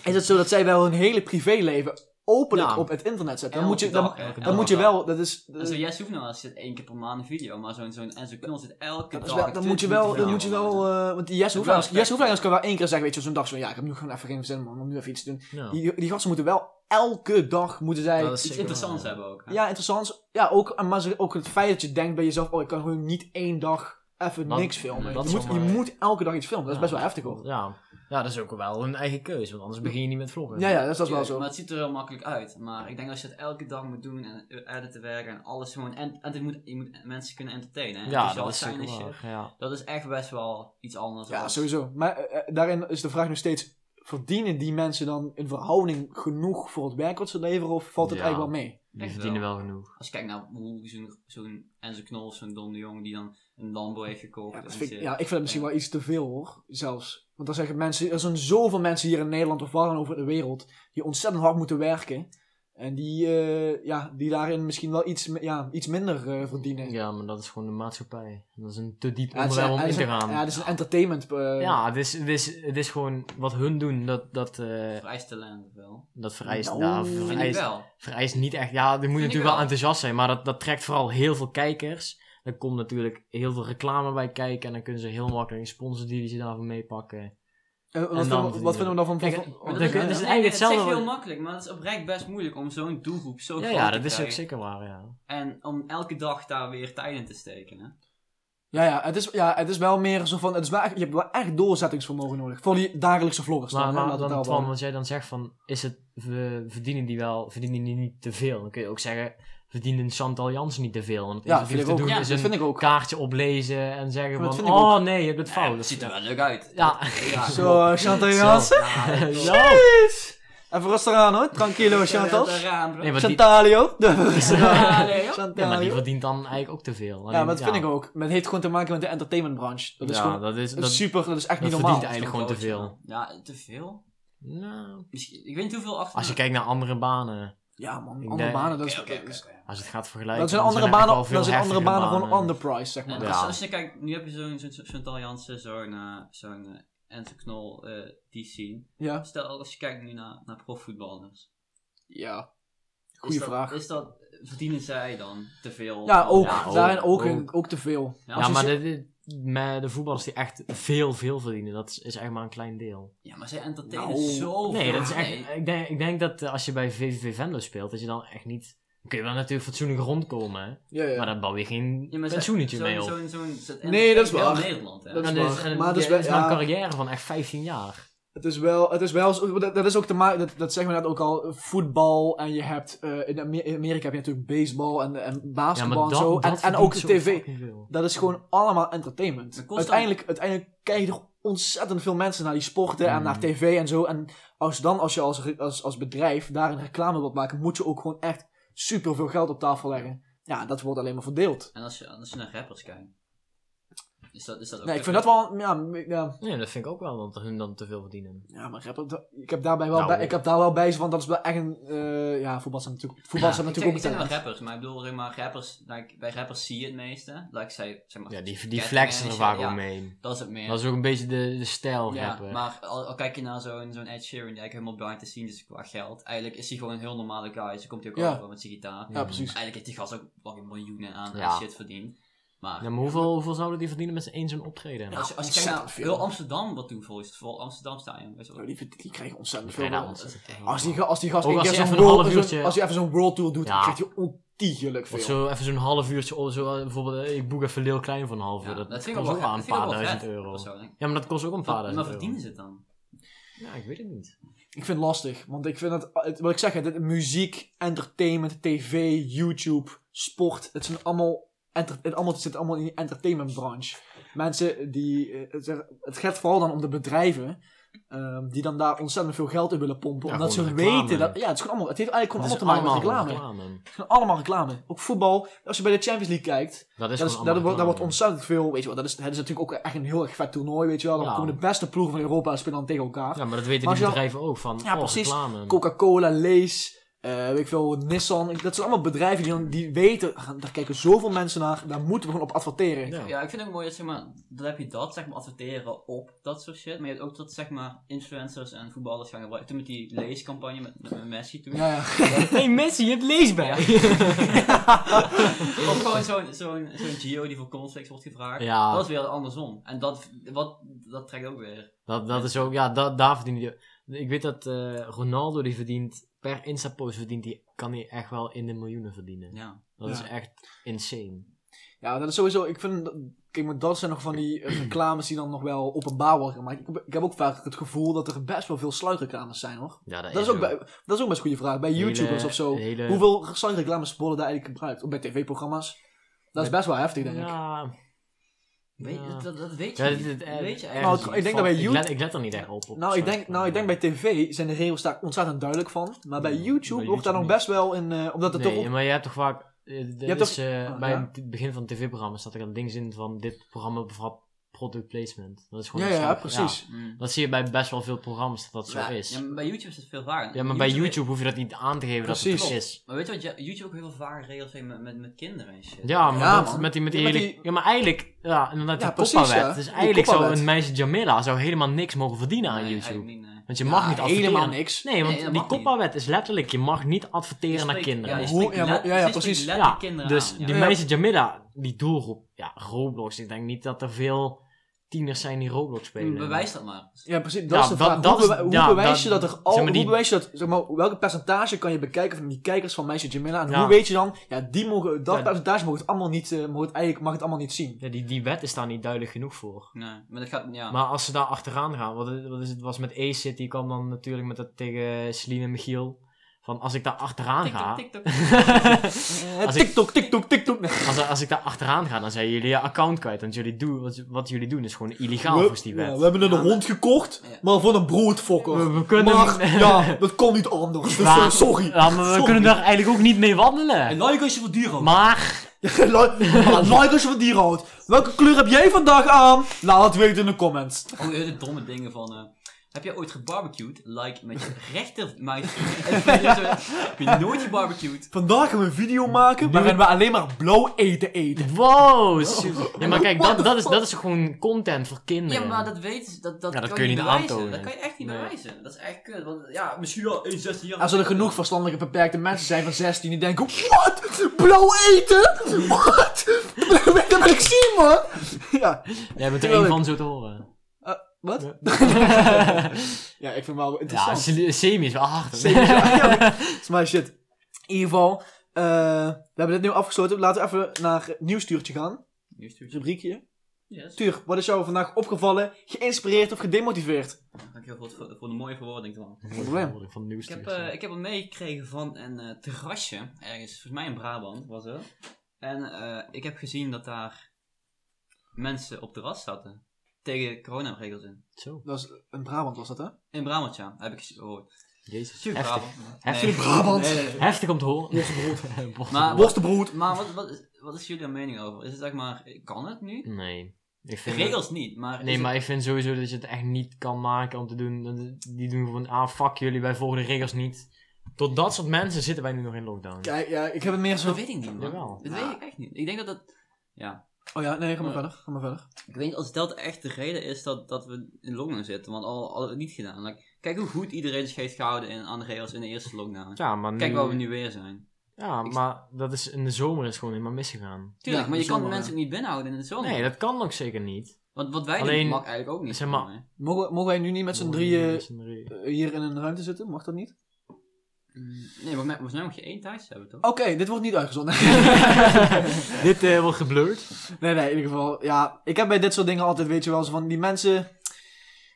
is het zo dat zij wel hun hele privéleven openlijk
Ja.
op het internet zetten. Dan
Elke
moet je, dan,
dag, hè,
dan
elke
moet je
dag.
wel, dat is,
En zo Jess Hoefnagel zit één keer per maand een video, maar zo'n zo'n Enzo Knol zit elke
dat is
dag
wel, dan moet je wel, dan moet je wel, eh, want die Jesse
Het wel
Hoefleiders, Jesse
respect.
Hoefleiders kan wel één keer zeggen, weet je, zo'n dag zo, ja, ik heb nu gewoon even geen zin man, om nu even iets te doen.
Ja.
Die, die gasten moeten wel elke dag, moeten zij
Dat is
iets
zeker waar,
interessants
ja.
hebben ook. hè?
Ja, interessant. Ja, ook, maar ze- ook het feit dat je denkt bij jezelf, oh, ik kan gewoon niet één dag even
Dat-
niks filmen.
dat
je,
is
moet,
wel
je
maar-
moet elke dag iets filmen. Dat is
Ja.
best wel heftig hoor.
Ja. ja, dat is ook wel een eigen keus, want anders begin je niet met vloggen.
Ja, ja, dat is, dat is wel
Tuurlijk,
zo.
Maar het ziet er heel makkelijk uit. Maar ik denk als je het elke dag moet doen en eh, editen werken en alles gewoon. En, en het moet, je moet mensen kunnen entertainen. Dus En
Ja,
enthousiast
dat is
zijn
zeker
en shit.
waar. Ja.
Dat is echt best wel iets anders.
Ja,
dan-
sowieso. Maar eh, eh, daarin is de vraag nog steeds, verdienen die mensen dan in verhouding genoeg voor het werk wat ze leveren of valt het
Ja.
eigenlijk wel mee?
Die
Echt
verdienen wel genoeg.
Als je kijkt naar hoe zo'n zo'n Enzo Knol of zo'n Don de Jong die dan een Lambo heeft gekocht.
Ja,
en
dat vind ik,
shit.
ja, ik vind het misschien wel iets te veel hoor, zelfs. Want dan zeggen mensen, er zijn zoveel mensen hier in Nederland of waar dan over de wereld, die ontzettend hard moeten werken. En die, eh, ja, die daarin misschien wel iets, mi- ja, iets minder eh, verdienen.
Ja, maar dat is gewoon de maatschappij. Dat is een te diep
Ja, het is-
onderwerp om
het
in
is
te
een- Ja,
gaan.
het is een entertainment. eh,
Ja, het is, het, is, het is gewoon wat hun doen, dat, dat, eh,
Vrij talent wel.
dat vereist,
Nou,
ja, Oh,
vind ik
Vind ik
vereist,
wel.
vereist niet echt. Ja, je moet
ik
natuurlijk wel
wel.
enthousiast zijn, maar dat, dat trekt vooral heel veel kijkers. Er komt natuurlijk heel veel reclame bij kijken en dan kunnen ze heel makkelijk een sponsordeal ze daarvoor meepakken.
eh,
en
wat,
dan
vinden, we-
verdienen.
wat vinden we dan van...
Kijk,
van-
eh,
oh,
Maar
Dan
dat
ja,
is,
kun-
ja.
dat is
nee,
eigenlijk
het is echt
hetzelfde
heel
wat-
makkelijk, maar het is oprecht best moeilijk om zo'n doelgroep zo
Ja,
groot
ja,
te
dat is ook
krijgen.
zeker waar, ja.
En om elke dag daar weer tijd in te steken. Hè?
Ja, ja, het is, ja, het is wel meer zo van... Het is wel echt, je hebt wel echt doorzettingsvermogen nodig. Voor die dagelijkse vloggers
Maar,
dan.
maar
hè, laten we
dan,
het daarop
Twan, wat jij dan zegt van, is het, we verdienen die wel, verdienen die niet te veel? Dan kun je ook zeggen, verdienen Chantal Jansen niet te veel? Want het
houden. Ja, vind ik
interview te
ook.
doen
Ja,
is
dat
een
vind ik ook.
kaartje oplezen en
Maar
zeggen
dat
van,
vind ik
oh nee, je hebt het
Ja,
fout.
het ziet er
ja.
wel leuk uit.
Ja. <laughs>
Ja.
Zo, eh, Chantal Jansen.
Ja, dat-
Ja.
Even rustig aan hoor. Tranquilo, Chantal.
Dat is raar, bro.
Nee, maar die,
Chantalio. <laughs> Rustig aan.
Ja, nee,
nee,
joh.
maar die
Chantalio.
verdient dan eigenlijk ook te veel.
Ja, maar dat vind ik ook. Maar het heeft gewoon te maken met de entertainmentbranche. Dat is
ja,
gewoon
dat is,
dat is
dat,
super, dat is echt
dat
niet normaal.
verdient eigenlijk gewoon te veel.
Ja, te veel?
Nou,
Misschien, ik weet niet hoeveel achter.
als je kijkt naar andere banen,
Ja man,
Ik
andere
denk-
banen, dat is...
Oké, oké, oké,
dat is-
oké.
als je het gaat vergelijken.
Dat zijn
dan
andere
er echt
banen,
wel veel
dat zijn andere
heftigere
banen gewoon underpriced, zeg maar.
En
Ja.
dus als, als je kijkt, nu heb je zo'n zo'n Chantal Jansen, zo'n eh, zo'n eh, Enzo Knol, eh, die scene.
Ja.
Stel als je kijkt nu naar, naar profvoetballers.
Ja, goede
is dat-
vraag.
Is dat, verdienen zij dan te veel?
ja, ook.
Ja,
ook,
daarin ook,
ook.
een- ook te veel.
Ja,
Ja,
ze
maar
zo-
de, de- met de voetballers die echt veel, veel verdienen, dat is, is echt maar een klein deel.
ja, maar zij entertainen
Nou,
zo
Nee, dat is echt, ik, denk, ik denk dat eh, als je bij VVV Venlo speelt, dat je dan echt niet... Dan kun je wel natuurlijk fatsoenlijk rondkomen, hè,
Ja, ja.
maar dan bouw je geen pensioentje mee op.
Nee, dat is
wel
waar.
Nederland, hè?
Dat is
En
waar.
dus- en
Maar
maar
dus
dus,
bij-
maar
ja.
een carrière van echt 15 jaar.
Het is wel, het is wel zo- dat, dat is ook te maken, dat, dat zeggen we net ook al, voetbal en je hebt, eh, in Amer- in Amerika heb je natuurlijk baseball en, en basketbal en zo. en, en
verdient
ook de
zo
tv.
fucking veel.
Dat is gewoon allemaal entertainment.
Het kost
uiteindelijk, uiteindelijk kijken er ontzettend veel mensen naar die sporten en
Mm.
naar tv en zo. En als dan, als je als, re- als, als bedrijf daar een reclame wilt maken, moet je ook gewoon echt superveel geld op tafel leggen. Ja, dat wordt alleen maar verdeeld.
En als je, als je naar rappers kijkt, is dat, is dat ook...
Nee, ik vind dat wel, ja, m- ja,
Nee, dat vind ik ook wel, dat hun dan te veel verdienen.
ja maar rapper, dat- ik heb, daarbij wel
Nou,
bij, ik heb daar wel bij, want dat is wel echt een, eh, ja, voetbal zijn natuurlijk, voetbal zijn
Ik
natuurlijk ook
zeg- ik zeg wel
een talent.
rappers, maar ik bedoel, zeg maar, rappers, like, bij rappers zie je het meeste. Like, zij, zeg maar,
Ja, die, die
Catman
flexen er
is-
vaak
ja,
ook mee.
Dat is het meer.
Dat is ook een beetje de, de stijl
ja,
rapper.
maar al, al kijk je naar zo'n zo'n Ed Sheeran, die eigenlijk helemaal blind te zien is qua geld. Eigenlijk is hij gewoon een heel normale guy, dus komt hij ook
Ja.
over met zijn gitaar.
Ja, precies.
Eigenlijk heeft die gast ook fucking miljoenen aan
Ja.
shit verdiend. Maar,
Ja, maar hoeveel, hoeveel zouden die verdienen met z'n één zo'n optreden?
Ja,
als, je, als je kijkt
ontzettend
naar
veel.
heel Amsterdam wat toen vol is, vol Amsterdam Stadion. Weet je
Oh,
wel.
Die, die krijgen ontzettend veel.
Geen
geld.
naam.
Als die, ge- als die gast
Ook
één
als
keer
hij
zo'n
even een
world-
half
zo'n-
uurtje-
als hij even zo'n world tour doet,
Ja.
dan krijgt hij ontiegelijk veel.
Of zo, even zo'n half uurtje, of zo, eh, bijvoorbeeld eh, ik boek even Leel Klein voor een half uur.
Ja,
dat,
vind ik
kost
ook
ook
wel
maar
dat
een
vind ik
paar
ook wel
duizend
vet,
euro.
persoonlijk.
Ja, maar dat kost ook een paar
Maar
duizend
verdienen
euro.
ze het dan?
Ja, ik weet het niet.
Ik vind het lastig, want ik vind het, het- wat ik zeg, het, muziek, entertainment, tv, YouTube, sport, het, zijn allemaal enter, het, allemaal, het zit allemaal in die entertainmentbranche. Mensen die, eh, het, zeg- het gaat vooral dan om de bedrijven, ehm, die dan daar ontzettend veel geld in willen pompen,
Ja,
omdat ze
gewoon reclame.
weten dat, ja, het, is gewoon allemaal, het heeft eigenlijk gewoon
Dat is
allemaal te maken met
allemaal
reclame. Het is gewoon allemaal reclame. Ook voetbal, als je bij de Champions League kijkt,
Dat is
Dat, is,
gewoon
dat, wordt, dat
allemaal
wordt
reclame.
ontzettend veel, weet je wel. Dat is, dat is natuurlijk ook echt een heel erg vet toernooi, weet je wel. Dan
Ja.
komen de beste ploegen van Europa en spelen dan tegen elkaar.
Ja, maar dat weten
Maar
die
als je
bedrijven ook van.
Ja,
oh,
precies.
Reclame.
Coca-Cola, Lees, eh, weet ik veel, Nissan. Dat zijn allemaal bedrijven die, dan, die weten, ah, daar kijken zoveel mensen naar. Daar moeten we gewoon op adverteren.
Ja.
Ja, ik vind het ook mooi dat zeg maar, dan heb je dat, zeg maar, adverteren op dat soort shit. Maar je hebt ook dat, zeg maar, influencers en voetballers gaan gebruiken. Toen met die leescampagne met, met, met Messi toen.
Ja, ja.
hey Messi, je hebt lees bij.
<laughs> Of gewoon zo'n zo'n zo'n Gio die voor cornflakes wordt gevraagd.
Ja.
Dat is weer andersom. En dat, wat, dat trekt ook weer.
Dat, dat is ook, ja, dat, daar verdient hij. Ik weet dat eh, Ronaldo die verdient, per Insta-post verdient, die kan hij echt wel in de miljoenen verdienen.
Ja.
Dat
Ja.
is echt insane.
ja, dat is sowieso, ik vind, dat- kijk, maar dat zijn nog van die eh, reclames die dan nog wel openbaar worden gemaakt. Ik, heb- ik heb ook vaak het gevoel dat er best wel veel sluitreclames zijn, hoor.
Ja, dat,
Dat is ook, bij, dat is ook best een goede vraag. Bij
Hele-
YouTubers of zo.
hele-
Hoeveel sluitreclames worden daar eigenlijk gebruikt? Of bij tv-programma's? Dat is best wel heftig, denk ik.
ja,
Weet,
Ja.
dat, dat weet je
Ja,
niet.
dit- dit-
Dat
eh,
weet je
Nou,
eigenlijk
het-
niet.
ik denk dat bij
ik
YouTube-
let, ik let er niet echt op. op
Nou ik,
soort
denk,
van-
nou, ik denk bij tv zijn de regels daar ontzettend duidelijk van. Maar bij
Ja,
YouTube
bij
wordt daar nog
YouTube
best wel in. eh, omdat het
Nee,
toch. Op...
maar je hebt toch vaak... eh, dat
hebt
is,
toch-
eh,
Ah,
bij
ja.
het begin van tv-programma's dat er een ding in van dit programma bevat product placement. Dat is gewoon
Ja,
een
ja,
slag-
precies.
Mm.
Dat zie je bij best wel veel programma's dat dat zo
Ja,
is.
Ja, maar bij YouTube is het veel vaker.
Ja, maar bij
weet-
YouTube hoef je dat niet aan te geven dat
Precies.
het is.
Maar weet je wat je- YouTube ook heel veel vaker regels heeft met, met, met kinderen en shit?
Ja, maar
Ja,
dat,
man.
met die, met die,
Ja, met
hele-
die-
ja, maar eigenlijk, ja, inderdaad,
Ja,
die
precies,
koppawet.
ja.
Dus
Die
eigenlijk zou
koppawet.
een meisje Jamila zou helemaal niks mogen verdienen aan
Nee,
YouTube.
eigenlijk niet, nee.
Want je mag
Ja,
niet adverteren.
helemaal niks.
Nee, want
Nee, dat
die
mag niet.
koppawet is letterlijk, je mag niet adverteren
Je
naar
spreekt-
kinderen.
Ja,
Hoe- ja, maar- ja, ja, precies.
Ja,
Ja,
kinderen
dus
aan,
die
Ja.
meisje Jamila, die doelgroep, ja, Roblox. Ik denk niet dat er veel tieners zijn die Roblox spelen.
Hmm, Bewijs dat maar.
Ja, precies. Dat
Ja,
is de
dat-
vraag.
dat
hoe
is-
bewe- hoe
ja,
bewijs je
dat-
dat er al.
zeg maar die-
Hoe bewijs je dat. Zeg maar, welke percentage kan je bekijken van die kijkers van Meisje Jamila? En
Ja.
hoe weet je dan. Ja, die mogen, dat
Ja.
percentage mag het allemaal niet. eh, mag, het eigenlijk, mag het allemaal niet zien.
Ja, die, die wet is daar niet duidelijk genoeg voor.
Nee, maar dat gaat, ja.
Maar als ze daar achteraan gaan, wat, is- wat is het was met Ace City, kwam dan natuurlijk met dat tegen Celine en Michiel. Van als ik daar achteraan ga.
TikTok, TikTok.
Eh,
Als ik-
TikTok, TikTok, TikTok. Nee.
Als, als ik daar achteraan ga, dan zijn jullie je account kwijt. Want jullie doen, wat, wat jullie doen is gewoon illegaal
We,
volgens die
ja,
wet.
we hebben het
Ja,
een hond gekocht,
Ja.
maar voor een broodfokker.
We- we kunnen-
Maar, ja, dat kon niet anders. Dus,
Maar-
eh, sorry.
Ja, maar we
Sorry.
kunnen daar eigenlijk ook niet mee wandelen.
like als je voor dieren <laughs>
Maar,
Ja, <laughs> like, maar like als je van dieren houdt. Welke kleur heb jij vandaag aan? Laat het weten in de comments.
Oh, hele domme dingen van. eh, Heb jij ooit gebarbecued? Like met je rechtermuis. heb je nooit gebarbecued?
Vandaag gaan we een video maken waarin we alleen maar blauw eten eten.
Wow! super. Ja, maar kijk,
What
dat,
the
dat, is,
fuck?
dat is gewoon content voor kinderen.
Ja, maar dat weten ze. Dat, dat,
Ja, dat
kan
kun je
je
niet
niet bewijzen.
aantonen.
Dat kan je echt niet
Nee.
bewijzen. Dat is echt kut. Want ja, misschien wel 1, 16 jaar.
Als er genoeg verstandelijke beperkte mensen zijn van 16 die denken: Wat? Blauw eten? Wat? Dat ben ik Simon! Ja,
Jij bent er
Tuurlijk.
één van zo te <laughs> horen.
wat? Ja, ik vind het wel <laughs>
ja,
interessant.
se- semi is wel
<laughs>
hard.
Dat is mijn shit. In ieder geval, eh, we hebben dit nu afgesloten. Laten we even naar het nieuwstuurtje gaan. Rubriekje.
Yes.
Tuur, wat is jou vandaag opgevallen, geïnspireerd of gedemotiveerd?
Dankjewel voor, het- voor, voor de mooie verwoording dan.
probleem.
Van nieuws.
Ik heb, eh, ik heb hem meegekregen van een eh, terrasje, ergens, volgens mij in Brabant was het. En eh, ik heb gezien dat daar mensen op terras zaten. Tegen coronaregels in.
Zo,
Dat was een Brabant, was dat hè?
In Brabant, ja, heb ik eens gehoord.
jezus.
Tuurlijk,
Heftig.
Brabant.
Heftig.
Nee.
Brabant!
Nee, nee, nee.
Heftig om te horen. <laughs>
Maar-
Worstenbrood!
Maar wat, wat, is, wat is jullie mening over? Is het zeg maar, kan het nu?
Nee. Ik
De
vind
regels niet, maar...
Nee,
is
maar ik vind sowieso dat je het echt niet kan maken om te doen. dat- Die doen gewoon, ah fuck jullie, wij volgen de regels niet. Tot dat soort mensen zitten wij nu nog in lockdown.
Kijk, ja, ik heb het meer
het- Dat
zo...
weet ik niet, man.
Jawel.
Dat
Ja.
weet ik echt niet. Ik denk dat dat... Ja.
Oh ja, nee, ga maar verder. Ga maar verder.
Ik weet niet of dat echt de reden is dat, dat we in lockdown zitten. Want al al hadden we het niet gedaan. Like, kijk hoe goed iedereen zich heeft gehouden in, aan de regels in de eerste lockdown.
Ja, maar nu,
Kijk waar we nu weer zijn.
Ja,
ik-
maar dat is, in de zomer is gewoon helemaal misgegaan.
Tuurlijk,
Ja,
maar je
de
kan de
zomer,
mensen
ja.
ook niet binnenhouden in de zomer.
Nee, dat kan ook zeker niet.
Want wat wij
Alleen,
doen mag eigenlijk ook niet.
zeg maar-
volgens mij.
Mogen, mogen wij nu niet met z'n
Mooi,
drieën
met z'n drieën.
eh, hier in een ruimte zitten? Mag dat niet?
Nee, maar volgens mij mag je één thuis hebben, toch?
Oh.
Oké, dit wordt niet <laughs> uitgezonden.
Dit eh, wordt geblurred.
nee, nee, in ieder geval. Ja, ik heb bij dit soort dingen altijd, weet je wel, zo van die mensen...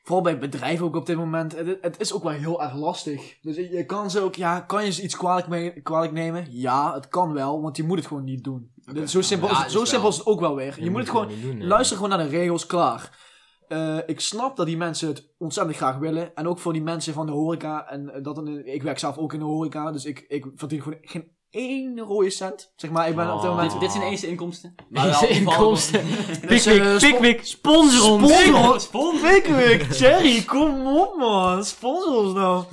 Vooral bij bedrijven ook op dit moment. Het, het is ook wel heel erg lastig. Dus je je kan ze ook... Ja, kan je ze iets kwalijk, mee- kwalijk nemen? Ja, het kan wel, want je moet het gewoon niet doen. Dit- zo simpel,
Ja,
is, het-
het
zo
is
simpel
wel-
is het ook wel weer. Je, moet het gewoon...
niet doen, nee.
Luister gewoon naar de regels, klaar. Eh, ik snap dat die mensen het ontzettend graag willen. En ook voor die mensen van de horeca. En eh, dat, een- ik werk zelf ook in de horeca, dus ik, ik verdien gewoon geen één rode cent. Zeg maar, ik ben op dit
Oh.
moment...
Dit, dit zijn eens de
<laughs>
inkomsten.
Eens de inkomsten.
Dus,
Pikwik,
eh, spo-
Pikwik, sponsor ons!
Sponsor ons!
Sponsor.
Pickwick, Jerry, kom op man. Sponsor ons nou.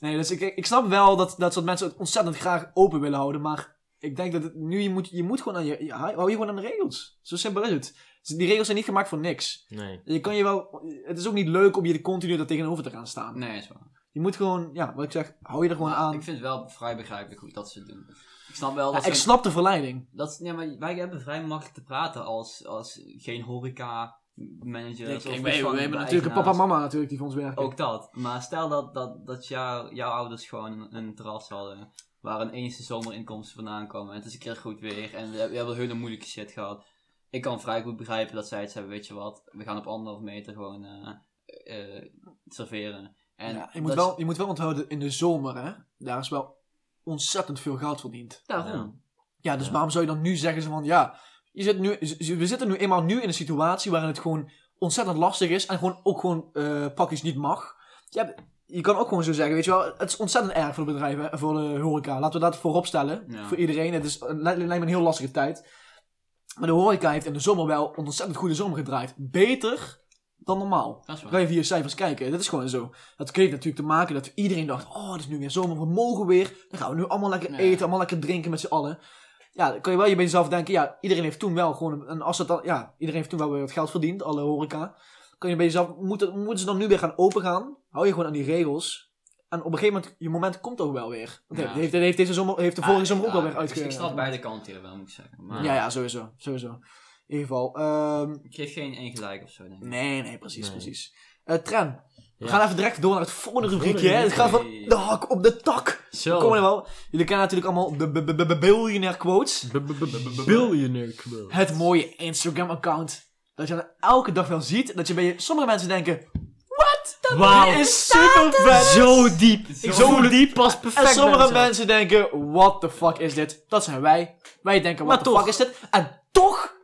Nee, dus ik, ik snap wel dat dat soort mensen het ontzettend graag open willen houden. Maar ik denk dat het nu, je moet, je moet gewoon aan je, je... Hou je gewoon aan de regels. Zo simpel is het. Dus Die regels zijn niet gemaakt voor niks.
Nee.
Je kan je wel, het is ook niet leuk om je er continu daar tegenover te gaan staan.
<laughs> Nee, is waar.
Je moet gewoon, ja, wat ik zeg, hou je er gewoon aan.
Ik
Ik,
vind het wel vrij begrijpelijk hoe dat ze het doen. Ik snap wel dat
ja, ik
ze-
snap de verleiding.
Dat, nee, maar wij hebben vrij makkelijk te praten als, als geen horeca manager.
Ik- ik weet- we hebben natuurlijk een papa en mama natuurlijk die voor ons werken.
Ook dat. Maar stel dat, dat, dat jou, jouw ouders gewoon een, een terras hadden. Waar een eens de zomerinkomsten vandaan komen. En het is een keer goed weer. En we, hebben- we hebben hele moeilijke shit gehad. Ik kan vrij goed begrijpen dat zij het hebben. Weet je wat, we gaan op anderhalf meter gewoon eh, eh, serveren. En
ja, je, moet
dat-
wel, je moet wel onthouden, in de zomer, hè, daar is wel ontzettend veel geld verdiend.
Daarom.
Ja, dus
Ja.
waarom zou je dan nu zeggen zo van, ja, je zit nu, z- we zitten nu eenmaal nu in een situatie waarin het gewoon ontzettend lastig is en gewoon ook gewoon eh, pakjes niet mag. Je, hebt- je kan ook gewoon zo zeggen, weet je wel, het is ontzettend erg voor de bedrijven, en voor de horeca. Laten we dat voorop stellen,
Ja.
voor iedereen. Het is een, lij- lijkt me een heel lastige tijd. Maar de horeca heeft in de zomer wel een ontzettend goede zomer gedraaid. Beter dan normaal.
Dat is waar.
Dan kan je via cijfers kijken, dat is gewoon zo. Dat kreeg natuurlijk te maken dat iedereen dacht, oh, het is nu weer zomer, we mogen weer. Dan gaan we nu allemaal lekker
Ja.
eten, allemaal lekker drinken met z'n allen. Ja, dan kan je wel je bij jezelf denken, ja, iedereen heeft toen wel gewoon, een- een, als het dan, ja, iedereen heeft toen wel weer wat geld verdiend, alle horeca. Kan je bij jezelf, moeten, moeten ze dan nu weer gaan opengaan? Hou je gewoon aan die regels. En op een gegeven moment, je moment komt ook wel weer. Want
Ja.
dat heeft, dat heeft, deze zomer, heeft de vorige zomer ook
wel
wel weer uitgekomen.
Ah, dus Ik snap beide kanten hier wel, moet ik zeggen. Maar
Ja, ja, sowieso, sowieso. In ieder geval, ehm,
ik geef geen één gelijk of zo, denk ik.
nee, nee, precies,
Nee.
precies. Eh Tran, we
Ja.
gaan even direct door naar het volgende
Het
rubriekje.
volgende
hè. Het gaat van
rubriekje.
de hak op de tak.
Zo.
Kom er wel. Jullie kennen natuurlijk allemaal de b- b- b- billionaire quotes.
Billionaire quote.
Het mooie Instagram-account. Dat je dan elke dag wel ziet. Dat je bij je- sommige mensen denken... Wat? Dat
Wauw.
is super vet.
Zo diep.
Zo
Zo diep. Pas perfect.
En sommige
mensen.
mensen denken... What the fuck is dit? Dat zijn wij. Wij denken... What
Maar
the
toch.
fuck is dit? En toch...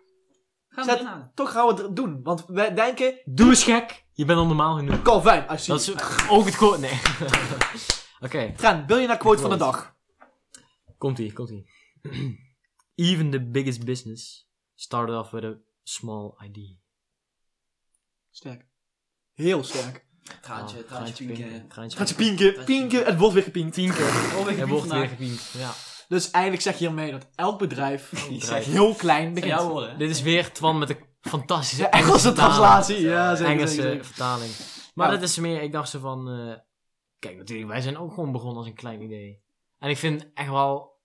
Gaan we
Zet-
erin halen.
Toch gaan we het doen. Want wij denken...
Doe eens gek. Je bent al normaal genoeg.
Calvin, als je...
Dat is ook het quote. Nee. <laughs> Oké,
Tran, billionaire quote van de
Quote.
dag.
komt ie, komt ie. <clears throat> Even the biggest business started off with a small idea.
Sterk. Heel sterk.
Traantje,
Oh,
traantje pinken.
Traantje
Gaat ze
pinken.
pinken, pinken, het wordt weer gepinkt.
Oh, ik
Er
heb
wordt weer
vandaag.
gepinkt. Ja.
Dus eigenlijk zeg je hiermee dat elk
<laughs>
bedrijf, <laughs> die
bedrijf.
zegt heel klein,
Zijn
begint.
jouw woorden, hè?
Dit is weer Twan met een fantastische
Ja, Engelse
vertaling.
translatie, ja zeker.
Engelse eh,
zeker, zeker.
vertaling. Maar
Ja.
dat is meer, ik dacht zo van... eh, kijk, natuurlijk, wij zijn ook gewoon begonnen als een klein idee. En ik vind echt wel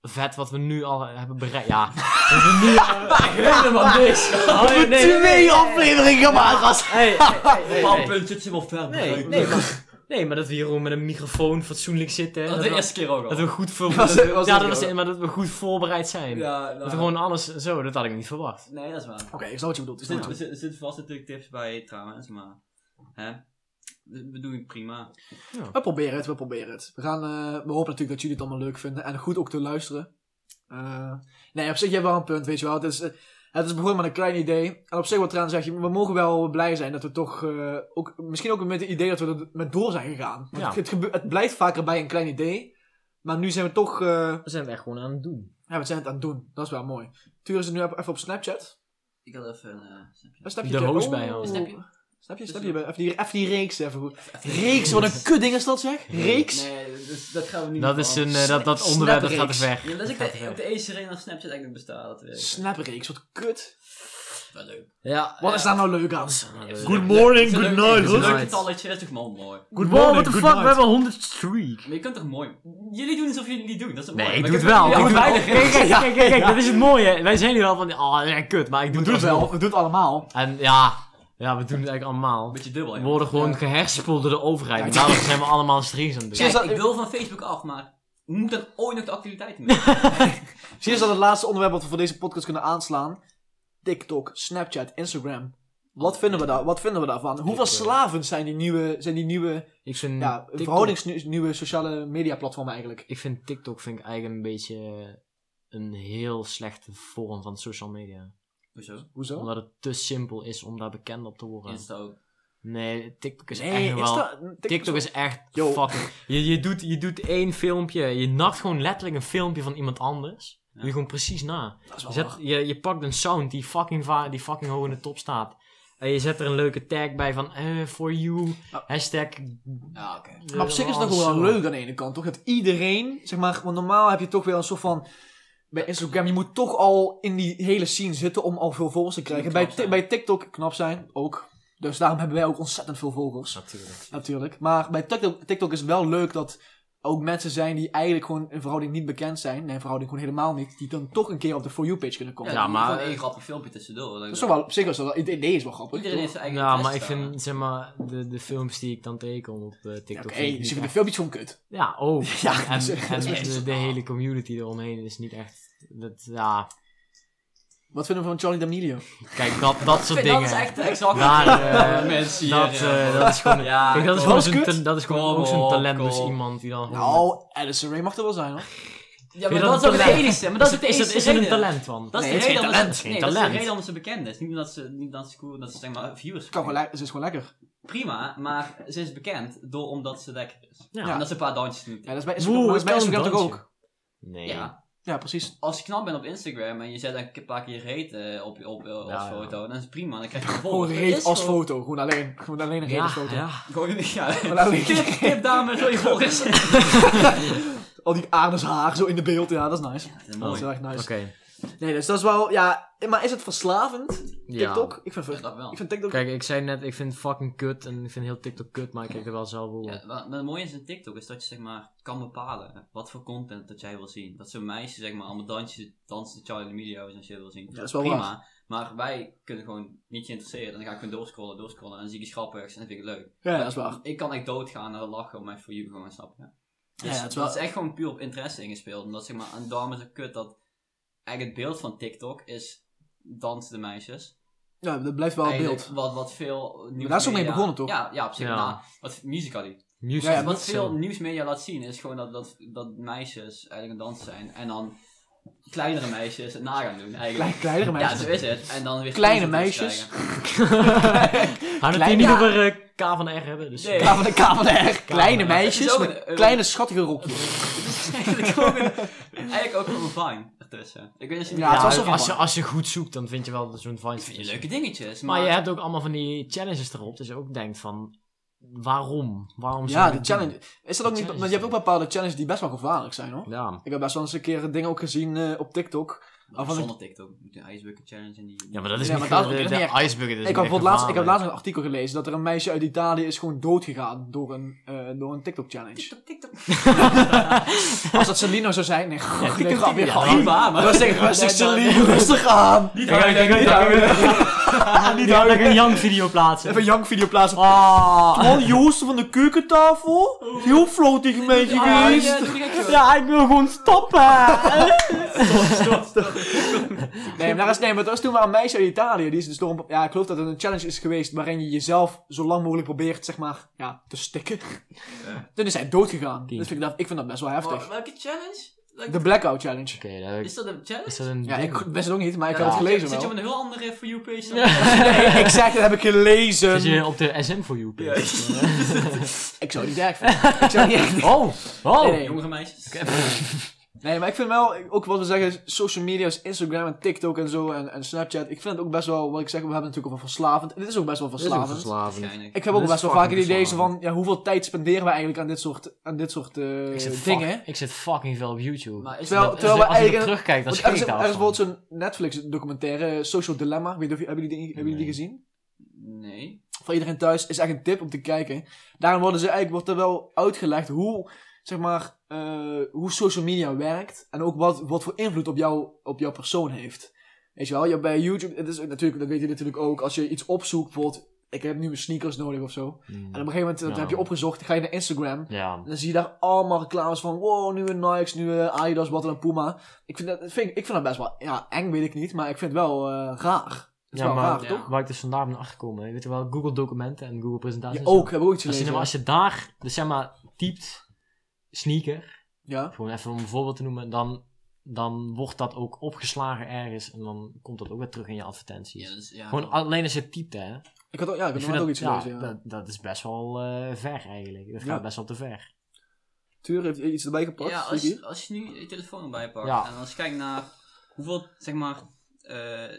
vet wat we nu al hebben bereikt. Ja, wat we nu al- helemaal niks.
<laughs>
Oh, nee, nee, nee,
Twee
nee.
afleveringen gemaakt als...
Hey, hey, hey, hey,
Op een
hey.
punt zit ze wel ver.
Nee,
begrepen.
nee, maar, nee, maar dat we hier gewoon met een microfoon fatsoenlijk zitten.
Dat was
we-
de eerste keer ook al.
dat we goed
Was
voorbereid
het- was
Ja,
het
dat
ook?
was, maar dat we goed voorbereid zijn.
Ja, nou.
Dat we gewoon alles zo, dat had ik niet verwacht.
Nee, dat is waar.
Oké, ik snap wat je bedoelt.
Er
ik snap
zitten
wat je
zit, vast natuurlijk tips bij trouwens, maar... Hè? We we doen het prima.
bedoelt. We proberen het, we proberen het. We, gaan, eh, we hopen natuurlijk dat jullie het allemaal leuk vinden en goed ook te luisteren. Eh, nee, op zich, je hebt wel een punt, weet je wel. Het is, eh, het is begonnen met een klein idee. En op zich wat eraan zeg je, we mogen wel blij zijn dat we toch... eh, ook, misschien ook met het idee dat we er met door zijn gegaan. Want
Ja.
het, gebe- het blijft vaker bij een klein idee. Maar nu zijn we toch... eh,
We zijn het echt gewoon aan het doen.
ja, we zijn het aan het doen. Dat is wel mooi. Tuur is het nu even op Snapchat.
Ik had even een... eh,
Een snapje
De
terug.
hoos
Oh.
bijhouden.
Snapje.
Snapje, snapje. Even die, even die reeks even goed. Reeks, wat een kutding is dat zeg? Reeks?
Nee, dus dat gaan we niet
Dat
meer
is
doen.
een, eh, dat, dat
Snap-
onderwerp dat gaat
snapreeks.
er weg.
Ja, dat is ook
gaat
de,
er
op de eerste reden dat Snapchat eigenlijk bestaat. Dat weet ik.
Snapreeks, wat kut.
Wel leuk.
Ah, Ja.
Wat is daar nou leuk aan?
Goed
morning,
Zo'n leuk- Zo'n leuk
hoor.
getalletje, dat is toch wel mooi.
Good
Wow,
morning,
what the
good
fuck, we
night.
hebben 100 streak.
Maar je kunt toch mooi... Jullie doen alsof jullie het niet doen, dat is het
Nee,
mooie.
ik
Maar
doe het
je
wel.
kunt- Ja,
Ik doe
goed,
het wel. Kijk, kijk,
weinig.
kijk,
Ja.
kijk, kijk, dat is het mooie. Wij zijn hier al van, oh ja, kut, maar ik doe
We
het
doen het wel,
alsnog.
we doen het allemaal.
En ja, ja, we doen het eigenlijk
Een
allemaal.
beetje dubbel,
We
hè.
worden gewoon
Ja.
gehersenspoeld door de overheid.
Ja,
En daarom zijn we allemaal streams aan het doen.
Precies.
Kijk,
dat-
ik wil van Facebook af, maar moet dat ooit nog de
<laughs>
actualiteit mee?
Misschien is dat het laatste onderwerp wat we voor deze podcast kunnen aanslaan. TikTok, Snapchat, Instagram. Wat vinden we, daar, wat vinden we daarvan? Hoeveel
eh,
slaven zijn die nieuwe, zijn die nieuwe
Ik vind,
ja,
TikTok,
verhoudingsnieuwe sociale media platformen eigenlijk?
ik vind TikTok vind ik eigenlijk een beetje een heel slechte vorm van social media.
Hoezo?
Hoezo?
Omdat het te simpel is om daar bekend op te worden.
Insta ook.
Nee, TikTok is
Nee,
echt wel...
Insta- TikTok,
TikTok is echt
Yo.
fucking... Je, je, doet, je doet één filmpje, je nakt gewoon letterlijk een filmpje van iemand anders.
Ja.
Doe je gewoon precies na.
Dat is
Je,
wel
zet,
waar.
je, je pakt een sound die fucking, va- die fucking hoog in de top staat. En je zet er een leuke tag bij van eh, for you,
Ah.
hashtag... eh,
Ja, oké.
Maar op zich is dat ook wel leuk aan de ene kant, toch? Dat iedereen, zeg maar, want normaal heb je toch weer een soort van... Bij Instagram, je moet toch al in die hele scene zitten om al veel volgers te krijgen.
moet
Bij,
knap
Ti-
zijn.
bij TikTok knap zijn, ook. Dus daarom hebben wij ook ontzettend veel volgers,
Natuurlijk.
natuurlijk. Maar bij TikTok, TikTok is het wel leuk dat ook mensen zijn die eigenlijk gewoon in verhouding niet bekend zijn. Nee, in verhouding gewoon helemaal niet. Die dan toch een keer op de For You-page kunnen komen.
Ja,
Ja,
maar-
maar... Gewoon één grappig filmpje tussendoor.
eh, Dat is toch wel, op zich is dat wel, het idee is wel grappig,
Iedereen
toch?
heeft zijn eigen
Ja, Nou, maar ik
interesse daar.
vind, zeg maar, de, de films die ik dan teken op eh,
Ja,
TikTok...
Oké,
vind
dus je
ik niet
vindt de filmpjes gewoon kut.
Ja,
<laughs>
ook.
Ja, dus-
en
dat
en,
is-
en
<laughs> dat
is-
de, de hele community eromheen is niet echt. Dat, ja,
Wat vinden we van Charlie D'Amelio?
kijk, dat,
<laughs>
dat soort
Dat
dingen.
is echt exact
Daar, <laughs> eh,
mensen hier.
dat,
ja.
eh, dat is gewoon.
Ja,
kijk, dat is
kom. Dat
gewoon
is
zo'n
kut.
ta- dat is gewoon
Kom
ook zo'n
op,
talentloos
kom.
iemand die dan gewoon.
Nou, Alison Ray mag er wel zijn, hoor.
Ja,
Vind
maar
je
dat
dat
is ook
een
de
talent?
enige. Maar dat is
het-
de
is,
enige
het- is het een
reden.
talent van?
Dat is
Nee,
de
het is
reden
geen
omdat
talent.
ze,
Geen
nee, dat is de
talent.
reden omdat ze bekend is. Niet omdat ze, niet omdat ze cool, dat ze zeg maar viewers
Kan
krijgen.
gewoon le- ze is gewoon lekker.
Prima, maar ze is bekend door omdat ze lekker is.
Ja.
En dat ze een paar dansjes doet.
Ja,
Ja.
dat is bij Instagram,
Oeh,
dat is bij
het kan
Instagram
een
toch ook?
Nee.
Ja, precies.
Als je knap bent op Instagram en je zet een paar keer reet eh, op, op, eh, als
Ja, ja.
foto, dan is het prima. Dan krijg je
<laughs> Gewoon
vervolgens.
reet als foto. Gewoon alleen, gewoon alleen een reet
Ja,
als foto.
ja.
<laughs> Gewoon, ja.
Gewoon alleen-
Tip, tip dame, zo je
<laughs>
volgers. Ja,
Al die aardeshaar zo in de beeld. Ja, dat is nice.
dat is
Dat is
mooi.
heel erg nice.
Oké.
Nee, dus dat is wel... Ja, maar is het verslavend?
Ja.
TikTok? Ik vind,
Ja, dat wel.
ik vind TikTok...
Kijk, ik zei net, ik vind het fucking kut en ik vind heel TikTok kut, maar ik kijk er wel zelf wel. op.
Ja, wat, maar het mooie is in TikTok is dat je zeg maar kan bepalen hè, wat voor content dat jij wil zien. Dat zo'n meisje zeg maar allemaal dansjes, dansen Charlie D'Amelio en shit wil zien.
dat is wel
prima. Maar wij kunnen gewoon niet geïnteresseerd en dan ga ik gewoon doorscrollen, doorscrollen en dan zie ik iets grappigs en dan vind ik het leuk.
Ja, dat is waar.
Ik kan echt doodgaan naar de lachen om mijn voor you gewoon snap je.
Ja,
Dus ja,
het
het
is
is
wel-
echt gewoon puur op interesse ingespeeld. Omdat zeg maar, en daarom is het kut dat eigenlijk het beeld van TikTok is dansende meisjes
Ja, dat blijft wel Oh, het
eigenlijk
beeld.
Wat, wat veel nieuws.
daar is ook mee
media-
begonnen, toch?
Ja, ja op zich.
Ja.
Nou, wat musically.
Musical.
Ja,
wat
Zo.
veel nieuwsmedia laat zien is gewoon dat, dat, dat meisjes eigenlijk een dans zijn. En dan kleinere meisjes het na gaan doen eigenlijk.
Klein, kleinere
Ja, zo
meisjes.
is het. En dan weer
Kleine
sponsors
meisjes.
krijgen. <laughs>
Had het hier
Klein-
niet
Ja.
over eh, K van de R hebben? Dus.
Nee.
<laughs> Klaar van de K van de R. Kleine
van de R. Het
meisjes
is ook
met
een-
kleine schattige rokjes.
Het is eigenlijk gewoon een- eigenlijk ook gewoon een vine ertussen. Ik weet niet of je
Ja, het
Ja,
was
het
wel
als, je,
van-
als je goed zoekt, dan vind je wel zo'n
vind je
vine.
leuke dingetjes, maar,
Maar je hebt ook allemaal van die challenges erop, dus je ook denkt van... waarom? Waarom zou
Ja,
je
de
het
challenge.
doen?
Is dat ook
De
niet,
challenge
want je hebt ook bepaalde challenges die best wel gevaarlijk zijn hoor.
Ja.
Ik heb best wel eens een keer dingen ook gezien eh, op TikTok.
Maar
van-
Zonder TikTok. Je moet een ice bucket challenge en die...
ja, maar dat is
Ja, maar
niet
dat is
de,
ook-
de,
dat is niet echt-
ijsburger.
ik, had voor het laatst, ik heb laatst een artikel gelezen dat er een meisje uit Italië is gewoon doodgegaan door een, eh, door een
<laughs>
TikTok-challenge.
TikTok, TikTok.
Als dat Celino zou zijn, nee, goh, nee,
TikTok-
grapje,
ja,
grapje.
Prima, maar...
Rustig, rustig,
Ja, dan-
Celine, rustig aan.
Niet
Kijk,
huilen,
kijk,
niet
kijk,
huilen.
<laughs>
niet had ik een Young video plaatsen.
Even een jankvideo plaatsen.
Ah.
Man, Joost van de keukentafel. Heel floot die gemeentje
Ah,
geweest.
ja, doe die gek, joh.
Ja, ik wil gewoon stoppen.
Nee, maar, daar is, nee, maar er is toen maar een meisje uit Italië. Die is dus door een, ja, ik geloof dat het een challenge is geweest waarin je jezelf zo lang mogelijk probeert, zeg maar, ja, te stikken. Toen is hij doodgegaan.
Oké.
Dus vind ik, dat, ik vind dat best wel
Maar
heftig.
Welke challenge? Welke-
De blackout challenge.
Oké, dat
Is dat een challenge?
is dat een.
Ja,
ding?
ik wist het ook niet, maar ik
Ja,
had het gelezen
Zit je op
wel.
een heel andere For You page dan...
<laughs>
<laughs>
Nee, ik zeg, dat heb ik
Zit
gelezen.
je op de SM for you?
Ja.
<laughs> Ik zou het niet erg vinden. Ik zou het niet erg vinden.
Oh,
Nee,
oh.
nee.
Jongere meisjes.
Nee, maar ik vind wel, ook wat we zeggen, social media is Instagram en TikTok en zo en, en Snapchat. Ik vind het ook best wel, wat ik zeg, we hebben natuurlijk al verslavend. En dit is ook best wel verslavend.
verslavend.
Schijnig.
Ik heb ook
Dit is
best wel vaak het
fucking
idee zo van,
verslavend.
ja, hoeveel tijd spenderen we eigenlijk aan dit soort, aan dit soort eh,
Ik zit, fuck-
dingen?
ik zit fucking veel op YouTube.
Maar is
Terwijl-
dat-
terwijl
Dus
we
als je er
eigenlijk-
terugkijkt, dan
Want
schrik
er, is,
ik
er is
daarvan.
bijvoorbeeld zo'n Netflix-documentaire, eh, Social Dilemma. Weet je of, hebben jullie die, hebben jullie die
Nee.
gezien?
Nee.
Voor iedereen thuis is echt een tip om te kijken. Daarom worden ze eigenlijk, wordt er wel uitgelegd hoe, zeg maar, eh, hoe social media werkt. En ook wat, wat voor invloed op, jou, op jouw persoon heeft. Weet je wel, je, bij YouTube, het is natuurlijk, dat weet je natuurlijk ook, als je iets opzoekt, bijvoorbeeld, ik heb nu mijn sneakers nodig of zo.
Mm.
En op een gegeven moment, dat
Ja.
heb je opgezocht, dan ga je naar Instagram.
Ja.
En dan zie je daar allemaal reclames van, wow, nieuwe Nikes, nieuwe Adidas, wat dan Puma. Ik vind, dat, vind, ik- ik vind dat best wel, ja, eng weet ik niet, maar ik vind het wel eh, raar. Het is
Ja,
wel
maar
raar,
ja.
toch?
waar ik dus vandaag ben achtergekomen, je weet wel, Google documenten en Google
Ja,
presentaties.
ook, heb ik ook iets
Als je,
gelezen.
nou- als je daar, dus zeg maar, typt sneaker,
Ja,
gewoon even om een voorbeeld te noemen, dan, dan wordt dat ook opgeslagen ergens en dan komt dat ook weer terug in je advertenties.
Ja, dat is- ja,
gewoon
dat-
alleen als je typt, hè.
ik had ook, ja, ik had
vind
nog net ook iets
ja,
gelezen. Ja.
dat, dat is best wel eh, ver eigenlijk. Dat
Ja.
gaat best wel te ver.
Tuur heeft iets erbij gepakt,
Ja,
zie
als,
ik hier.
je- als je nu je telefoon erbij pakt
Ja.
en als je kijkt naar hoeveel, zeg maar, eh,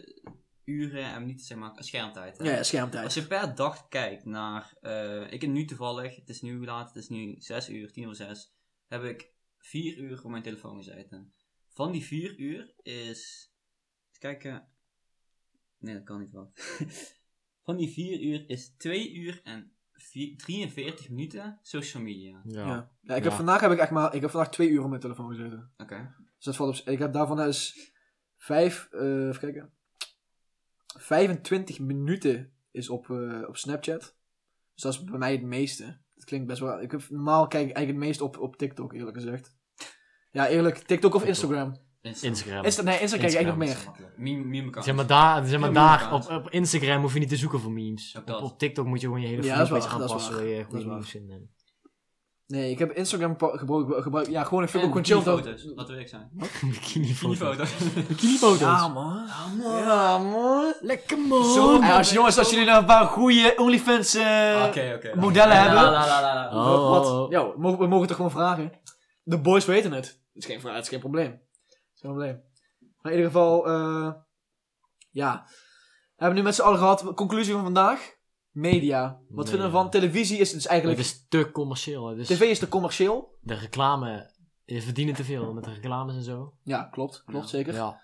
uren en minuten, zeg maar, schermtijd. hè.
Ja, ja,
Als
schermtijd.
je per dag kijkt naar, eh, ik heb nu toevallig, het is nu laat, het is nu 6 uur, 10 uur 6, heb ik 4 uur op mijn telefoon gezeten. Van die 4 uur is, eens kijken, nee dat kan niet wat. <laughs> Van die 4 uur is 2 uur en vier- 43 minuten social media.
Ja.
Ja.
Ja, ik heb
Ja.
vandaag heb ik echt maar, ik heb vandaag twee uur op mijn telefoon gezeten.
Oké.
Dus dat valt op, ik heb daarvan dus vijf, eh even kijken, 25 minuten is op, eh, op Snapchat. Dus dat is bij mij het meeste. Dat klinkt best wel. Ik heb, normaal kijk ik eigenlijk het meest op, op TikTok, eerlijk gezegd. Ja, eerlijk, TikTok of
TikTok.
Instagram?
Instagram.
Instagram.
Insta, nee, Insta kijk ik eigenlijk nog
Instagram.
meer.
Meme, meme account.
Zeg maar daar, zeg maar
Ja,
daar op,
inderdaad.
op Instagram hoef je niet te zoeken voor memes.
Ook
Op,
dat.
op TikTok moet je gewoon je hele
Ja,
ja,
dat is
beetje
waar, dat is
aanpassen.
waar.
wil je
Dat
goede
is waar.
memes vinden. <laughs>
Nee, ik heb Instagram pa- gebruik, gebruik. Ja, gewoon, ik vind
En dus.
ook gewoon chill. dat-
bikinifoto's, Laten we eerlijk zijn.
Bikinifoto's.
Bikinifoto's.
Bikinifoto's.
Ja, man. Ja, man.
Lekker man.
Zo, hey, als, jongens, als jullie nou een paar goede OnlyFans <laughs> eh,
Oké, oké.
modellen
La,
hebben.
la, la, la, la.
Oh.
Wat? Ja, we mogen, we mogen toch gewoon vragen? De boys weten het. Het is geen vraag, het is geen probleem. Het is geen probleem. Maar in ieder geval, eh, ja. We hebben nu met z'n allen gehad, conclusie van vandaag. Media. Wat
Media.
vinden we van televisie? Is dus
Het
eigenlijk.
is te commercieel. hè. Dus
TV is te commercieel.
de reclame, je verdienen te veel met de reclames en zo.
Ja, klopt. Klopt
Ja.
zeker.
Ja.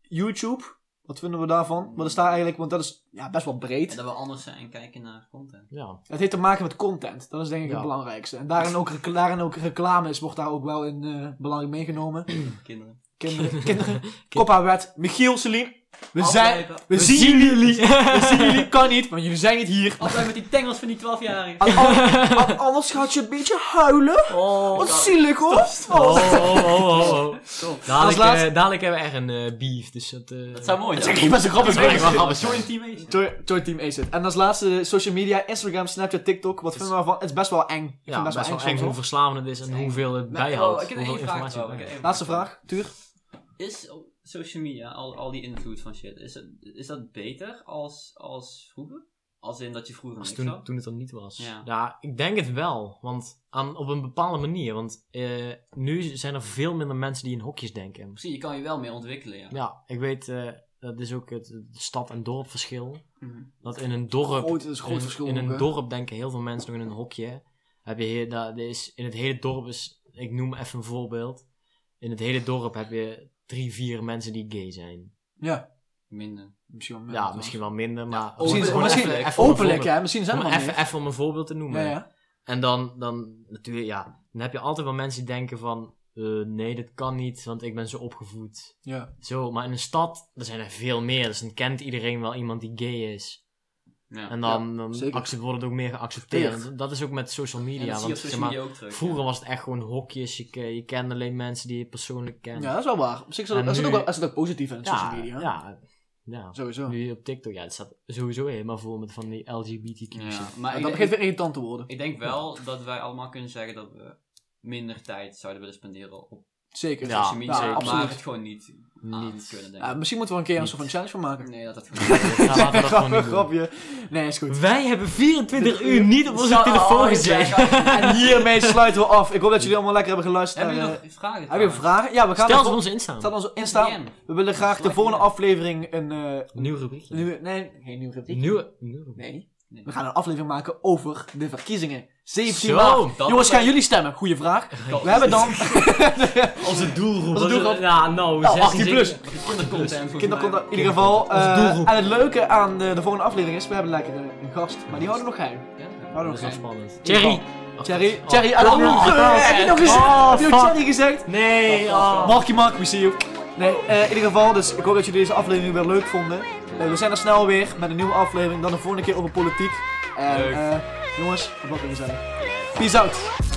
YouTube. Wat vinden we daarvan? Wat is daar eigenlijk? Want dat is ja, best wel breed.
En dat we anders zijn en kijken naar content.
Ja.
Het heeft te maken met content. Dat is denk ik het
Ja.
belangrijkste. En daarin ook, recla- daarin ook reclames wordt daar ook wel in eh, belangrijk meegenomen.
Kinderen.
<laughs>
Kinderen, kinderen. Koppa wet. Michiel, Celine. We zijn.
Afblijven.
We, zien
<laughs>
jullie. we zien jullie. Kan niet, want jullie zijn niet hier.
Afblijven met die tengels van die 12-jarigen.
An-
<laughs>
an- an- anders gaat je een beetje huilen.
Oh.
Ah, Wat zielig hoor.
Oh,
Oh.
oh, oh, oh.
Stop.
Als
Dadelijk,
laatste-
eh, dadelijk hebben we echt een eh, beef. Dus dat, eh,
Dat zou mooi
Dat
zijn.
is echt best een grappig
Dat is
weetje.
echt wel grappig.
Join Team Ace.
Toy Toy Team Ace het. En als laatste eh, social media, Instagram, Snapchat, TikTok. Wat vinden we ervan? Het is best wel eng. Ik
Ja,
vind het
best wel eng
soms,
hoe
hoor.
verslavend het is en
Eng.
hoeveel het
Maar, oh,
bijhoudt.
Ik heb nog
hoeveel
één vraag.
informatie het
wel. Ik heb
bijhoudt.
één
Laatste vraag, Tuur.
Is op social media, al, al die invloed van shit, is dat, is dat beter als, als vroeger? Als in dat je vroeger
Als
niks
toen,
had?
toen het er niet was.
Ja.
Ja, ik denk het wel. Want aan, op een bepaalde manier. Want eh, nu zijn er veel minder mensen die in hokjes denken.
Precies, je kan je wel meer ontwikkelen, ja.
Ja, ik weet, eh, dat is ook het, het stad- en dorpverschil.
Mhm.
Dat in een dorp.
Groot- dat is een groot
in,
verschil
In
ook,
een
hè?
dorp denken heel veel mensen nog in een hokje. Heb je hier, daar is, in het hele dorp is, ik noem even een voorbeeld. In het hele dorp heb je drie, vier mensen die gay zijn.
Ja,
Minder.
misschien wel.
Ja,
meer.
misschien wel minder, maar.
Misschien,
gewoon
misschien
even- even om een
openlijk,
voorbeeld-
ja. Misschien zijn
om
er wel
Even,
meer.
even om een voorbeeld te noemen.
Ja, ja.
En dan, dan natuurlijk, ja. Dan heb je altijd wel mensen die denken van. eh, nee, dat kan niet, want ik ben zo opgevoed.
ja.
Zo, maar in een stad, er zijn er veel meer. Dus dan kent iedereen wel iemand die gay is.
Ja.
En dan, dan
zeker.
accep- wordt het ook meer geaccepteerd.
Echt.
Dat is ook met social media.
En dat zie je
want,
op
zeg
social
maar,
media ook terug.
vroeger was het echt gewoon hokjes. Je, ke- je kende alleen mensen die je persoonlijk kent.
Ja, dat is wel waar. Op zich zit
En
er zit
nu-
ook, wel- er zit ook positief in het social media.
Ja, ja.
Sowieso.
Nu op TikTok, ja, het staat sowieso helemaal vol met van die LGBTQ
Ja.
shit.
Maar
En
ik,
dat
ik,
begint weer irritant te worden.
ik denk wel dat wij allemaal kunnen zeggen dat we minder tijd zouden willen spenderen op
Zeker.
Ja.
social media.
ja,
maar
absoluut.
het gewoon niet aan <laughs>
Niet.
Ah, kunnen denken.
Ja, misschien moeten we een keer een
Niet.
soort van challenge van maken.
nee, dat dat gewoon
Ja,
niet.
laten
<laughs>
we dat gewoon
Grappig,
niet doen.
grapje. Nee, is goed.
Wij hebben 24 uur niet op onze
Zou-
telefoon
oh,
gezeten.
ja, ga-
En
<laughs>
hiermee sluiten we af. Ik hoop dat jullie allemaal lekker hebben geluisterd.
Hebben
naar,
jullie
eh,
nog vragen?
Heb je
trouwens?
vragen? Ja, we gaan
Stel
naar
ze op
vol-
ons instaan.
staat ons instaan.
DM.
We willen graag de
Gelijk
volgende
DM.
aflevering een eh,
Nieuw rubriekje.
nieuwe... Nee, geen nieuwe rubriek.
Nieuwe, nieuwe rubriek.
Nee.
Nee.
We gaan een aflevering maken over de verkiezingen. 17
Zo,
maart.
dat
Jongens,
is-
gaan jullie stemmen? Goeie vraag. We hebben
<laughs>
dan
Onze doelgroep.
Onze doelgroep.
Ja, nou,
Nou, 18
16.
plus.
Kindercontent. volgens
Dus kindercontent.
mij.
In ieder geval. eh,
Onze doelgroep.
en het leuke aan de, de volgende aflevering is, we hebben lekker een, een gast. Maar die houden we nog geheim.
Ja.
Houden
Dat
we
is
nog
wel
geheim.
spannend.
Thierry.
Cherry.
Thierry, Thierry, I
Oh, Oh,
love you.
oh,
Eh, Heb je nog
fuck.
gezegd? Heb je nog
Oh,
Thierry gezegd?
Nee, oh.
Marky Mark, we see you. Nee, eh, in ieder geval, dus ik hoop dat jullie deze aflevering weer leuk vonden. Eh, we zijn er snel weer met een nieuwe aflevering, dan de volgende keer over politiek. En
Leuk.
eh, jongens, wat lekker gezellig. Peace out.